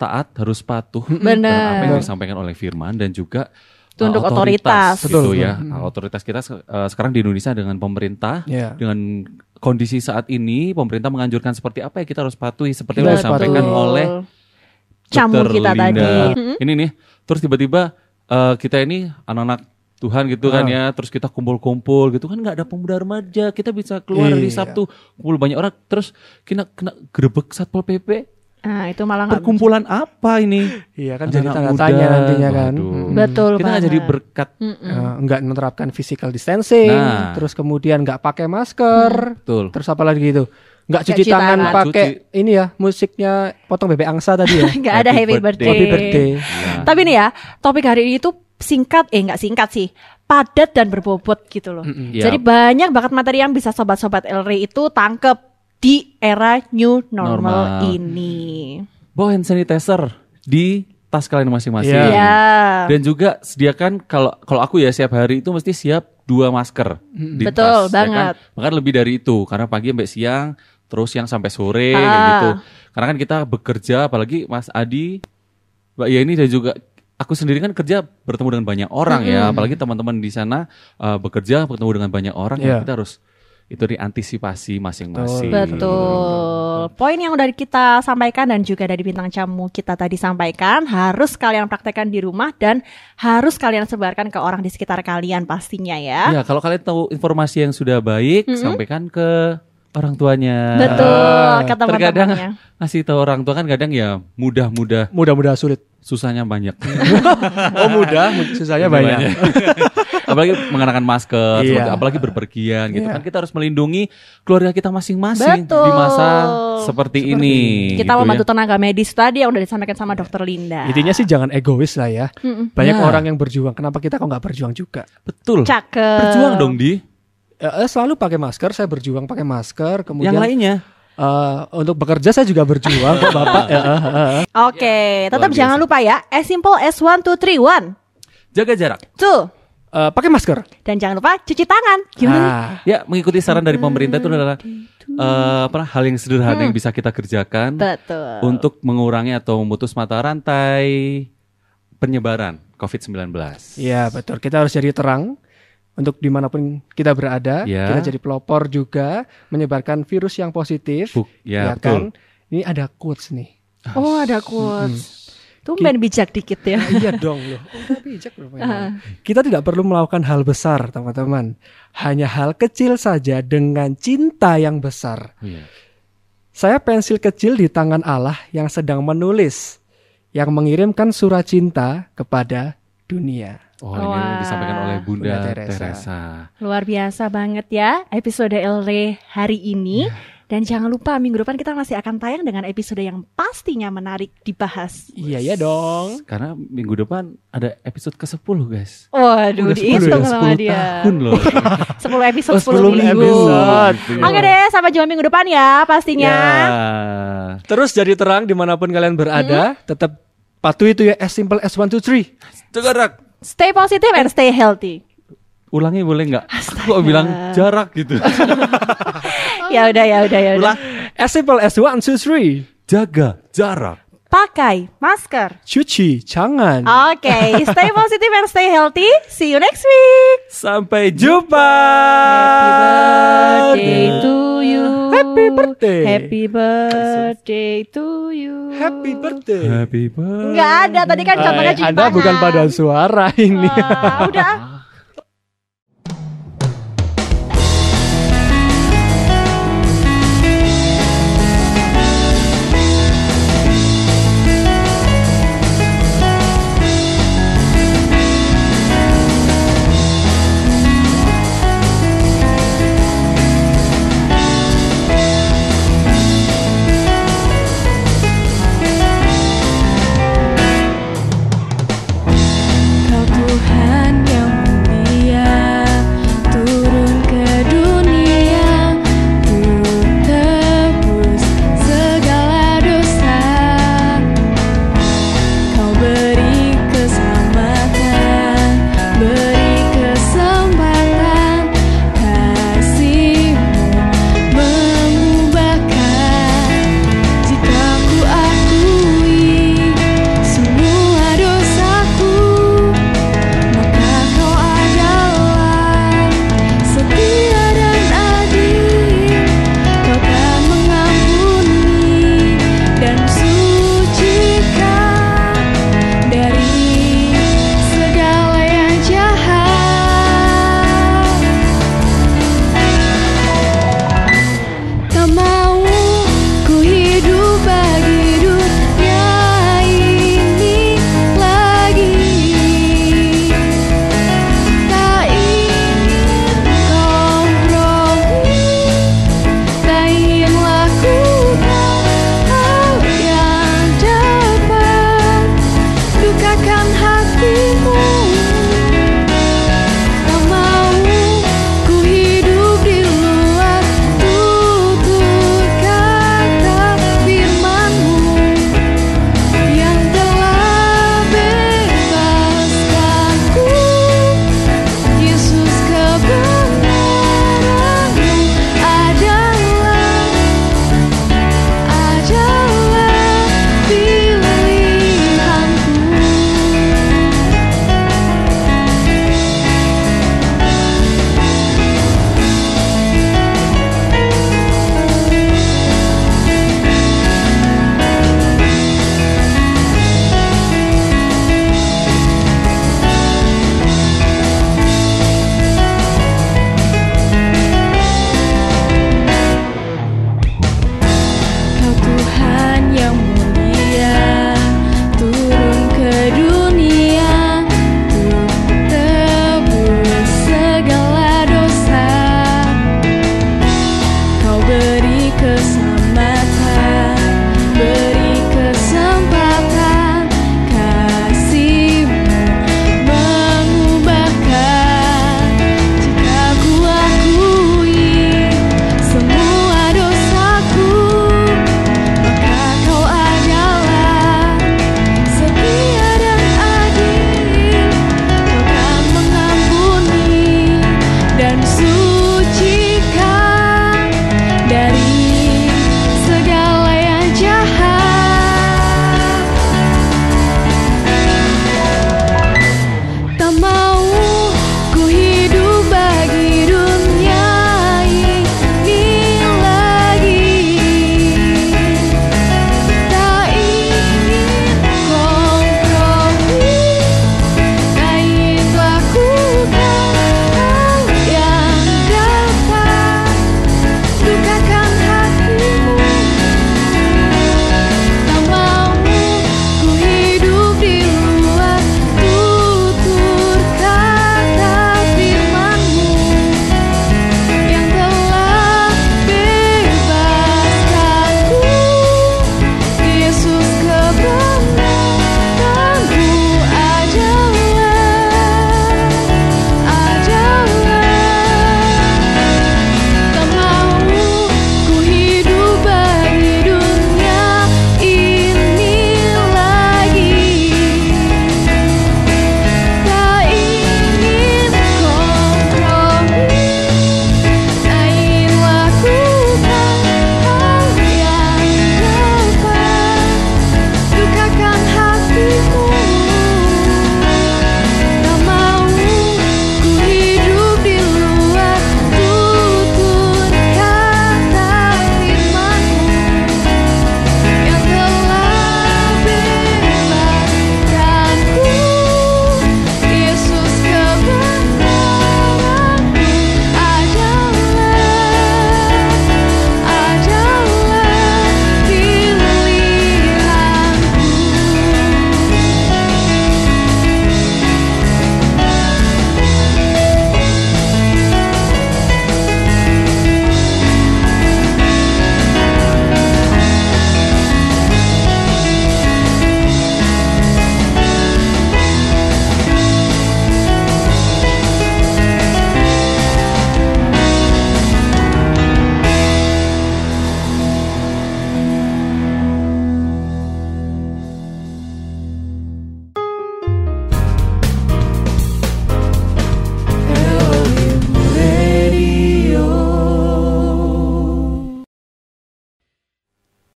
E: taat, harus patuh
D: Bener.
E: terhadap apa yang disampaikan oleh firman dan juga uh,
D: Tunduk otoritas.
E: gitu
C: Betul, Hmm.
E: ya. Nah, Otoritas kita se- uh, sekarang di Indonesia dengan pemerintah
C: Iya.
E: dengan kondisi saat ini pemerintah menganjurkan seperti apa ya kita harus patuhi
C: Kita
E: seperti yang
C: harus
E: disampaikan
C: patuhi.
E: oleh
D: Camu
E: Dokter
D: kita
E: Linda. Mm-hmm.
D: tadi. Mm-hmm.
E: Ini nih, terus tiba-tiba eh, kita ini anak-anak Tuhan gitu
D: Ah.
E: kan ya, terus kita kumpul-kumpul gitu kan nggak ada pemuda remaja, kita bisa keluar hari
C: Iya.
E: Sabtu kumpul banyak orang, terus kena kena grebek satpol pp,
D: Nah, itu malah nggak
E: perkumpulan apa ini?
C: Iya kan
E: Anak-anak
C: jadi tanda
E: muda.
C: tanya nantinya kan.
E: Waduh.
C: Mm.
D: betul
E: kita nggak
D: banget.
E: jadi berkat
C: Eh, nggak menerapkan physical distancing,
E: Nah.
C: terus kemudian nggak pakai masker,
E: betul.
C: terus apa lagi gitu. Nggak cuci
D: cuci
C: tangan
D: tangan.
C: pakai ini ya, musiknya potong bebek angsa tadi ya.
D: Nggak ada
E: Happy
D: happy
E: birthday.
D: birthday.
C: Happy birthday.
E: Nah,
D: Tapi nih ya, topik hari ini tuh singkat, eh nggak singkat sih, padat dan berbobot gitu loh.
E: Iya.
D: Jadi banyak banget materi yang bisa sobat-sobat Elri itu tangkep di era new normal,
E: Normal.
D: ini.
E: Bawa hand sanitizer di tas kalian masing-masing.
C: Iya.
D: Ya,
E: Dan juga sediakan kalau kalau aku ya setiap hari itu mesti siap dua masker di
D: Betul
E: tas, ya kan?
D: banget.
E: Bahkan lebih dari itu karena pagi sampai siang terus yang sampai sore kayak
D: Ah.
E: gitu. Karena kan kita bekerja apalagi Mas Adi, Mbak Yeni dan juga aku sendiri kan kerja bertemu dengan banyak orang ya, apalagi teman-teman di sana eh, bekerja bertemu dengan banyak orang ya
C: Iya.
E: kita harus itu diantisipasi masing-masing.
D: Betul. Poin yang udah kita sampaikan dan juga dari bintang tamu kita tadi sampaikan harus kalian praktekkan di rumah dan harus kalian sebarkan ke orang di sekitar kalian pastinya ya.
E: Ya, kalau kalian tahu informasi yang sudah baik, sampaikan ke orang tuanya.
D: Betul, ke
E: Iya. Terkadang
D: teman-temannya.
E: ngasih tahu orang tua kan kadang ya mudah-mudah
C: Mudah-mudahan sulit.
E: susahnya banyak. Gitu kan ya.
C: Oh mudah, susahnya *laughs* banyak.
E: apalagi mengenakan masker,
C: Iya.
E: seperti- apalagi berpergian gitu kan kita harus melindungi keluarga kita masing-masing
D: Betul.
E: di masa seperti, ini.
D: Kita
E: gitu
D: membantu
E: ya.
D: tenaga medis tadi yang udah disampaikan sama dokter Linda.
C: Intinya sih jangan egois lah ya. Banyak
E: Nah.
C: orang yang berjuang. Kenapa kita kok nggak berjuang juga?
E: Betul.
D: Cakep.
E: Berjuang dong di
C: Eh, eh, selalu pakai masker. Saya berjuang pakai masker. Kemudian
E: yang lainnya.
C: eh, untuk bekerja saya juga berjuang. Kok
E: *laughs*
C: Bapak. Eh, eh, eh, eh.
D: Oke, tetap
E: luar biasa.
D: jangan lupa ya. As simple as one, two, three, one,
E: Jaga jarak.
D: two.
C: Eh, pakai masker.
D: Dan jangan lupa cuci tangan. Gimana?
C: Nah,
E: Ya, mengikuti saran dari pemerintah itu adalah eh, apa hal yang sederhana yang bisa kita kerjakan
D: Hmm. Betul.
E: untuk mengurangi atau memutus mata rantai penyebaran COVID-19.
C: Iya betul. Kita harus jadi terang untuk dimanapun kita berada.
E: Ya.
C: Kita jadi pelopor juga menyebarkan virus yang positif.
E: Bu-
C: kan?
E: ya, betul.
C: Ini ada quotes nih.
D: Oh, ada quotes. Tumben bijak dikit ya.
C: *laughs* iya dong loh. Udah bijak loh, memang. Kita tidak perlu melakukan hal besar, teman-teman. Hanya hal kecil saja dengan cinta yang besar.
E: Iya.
C: Saya pensil kecil di tangan Allah yang sedang menulis, yang mengirimkan surat cinta kepada dunia.
E: Oh, ini
D: Wah.
E: disampaikan oleh Bunda,
C: Bunda Teresa.
E: Teresa.
D: Luar biasa banget ya episode LRE hari ini. Dan jangan lupa minggu depan kita masih akan tayang dengan episode yang pastinya menarik dibahas.
C: Iya ya dong.
E: Karena minggu depan ada episode ke-10, guys.
D: Waduh, dihitung sama
E: 10
D: dia.
E: ya? tahun
D: *laughs*
E: loh.
D: 10 episode, 10
C: Oh,
D: minggu.
C: episode.
D: Oke deh, sampai jumpa minggu depan ya pastinya.
E: Ya.
C: Terus jadi terang dimanapun kalian berada, tetap patuhi itu ya as simple as one two three.
E: Jarak.
D: Stay positive and stay healthy.
E: Ulangi boleh nggak? Kok bilang jarak gitu.
D: Ya udah ya udah ya udah.
C: As simple as one two three.
E: Jaga jarak.
D: Pakai masker.
C: Cuci tangan.
D: Oke,
C: *laughs*
D: stay positive and stay healthy. See you next week.
E: Sampai jumpa.
D: Happy birthday to you.
C: Happy birthday.
D: Happy birthday to you.
C: Happy birthday.
E: Happy birthday.
D: Enggak ada, tadi kan contohnya
C: Eh,
D: cuci
C: Anda
D: tangan.
C: bukan pada suara *laughs* ini.
D: Ah, udah. ah.
G: Kau Tuhan yang kesal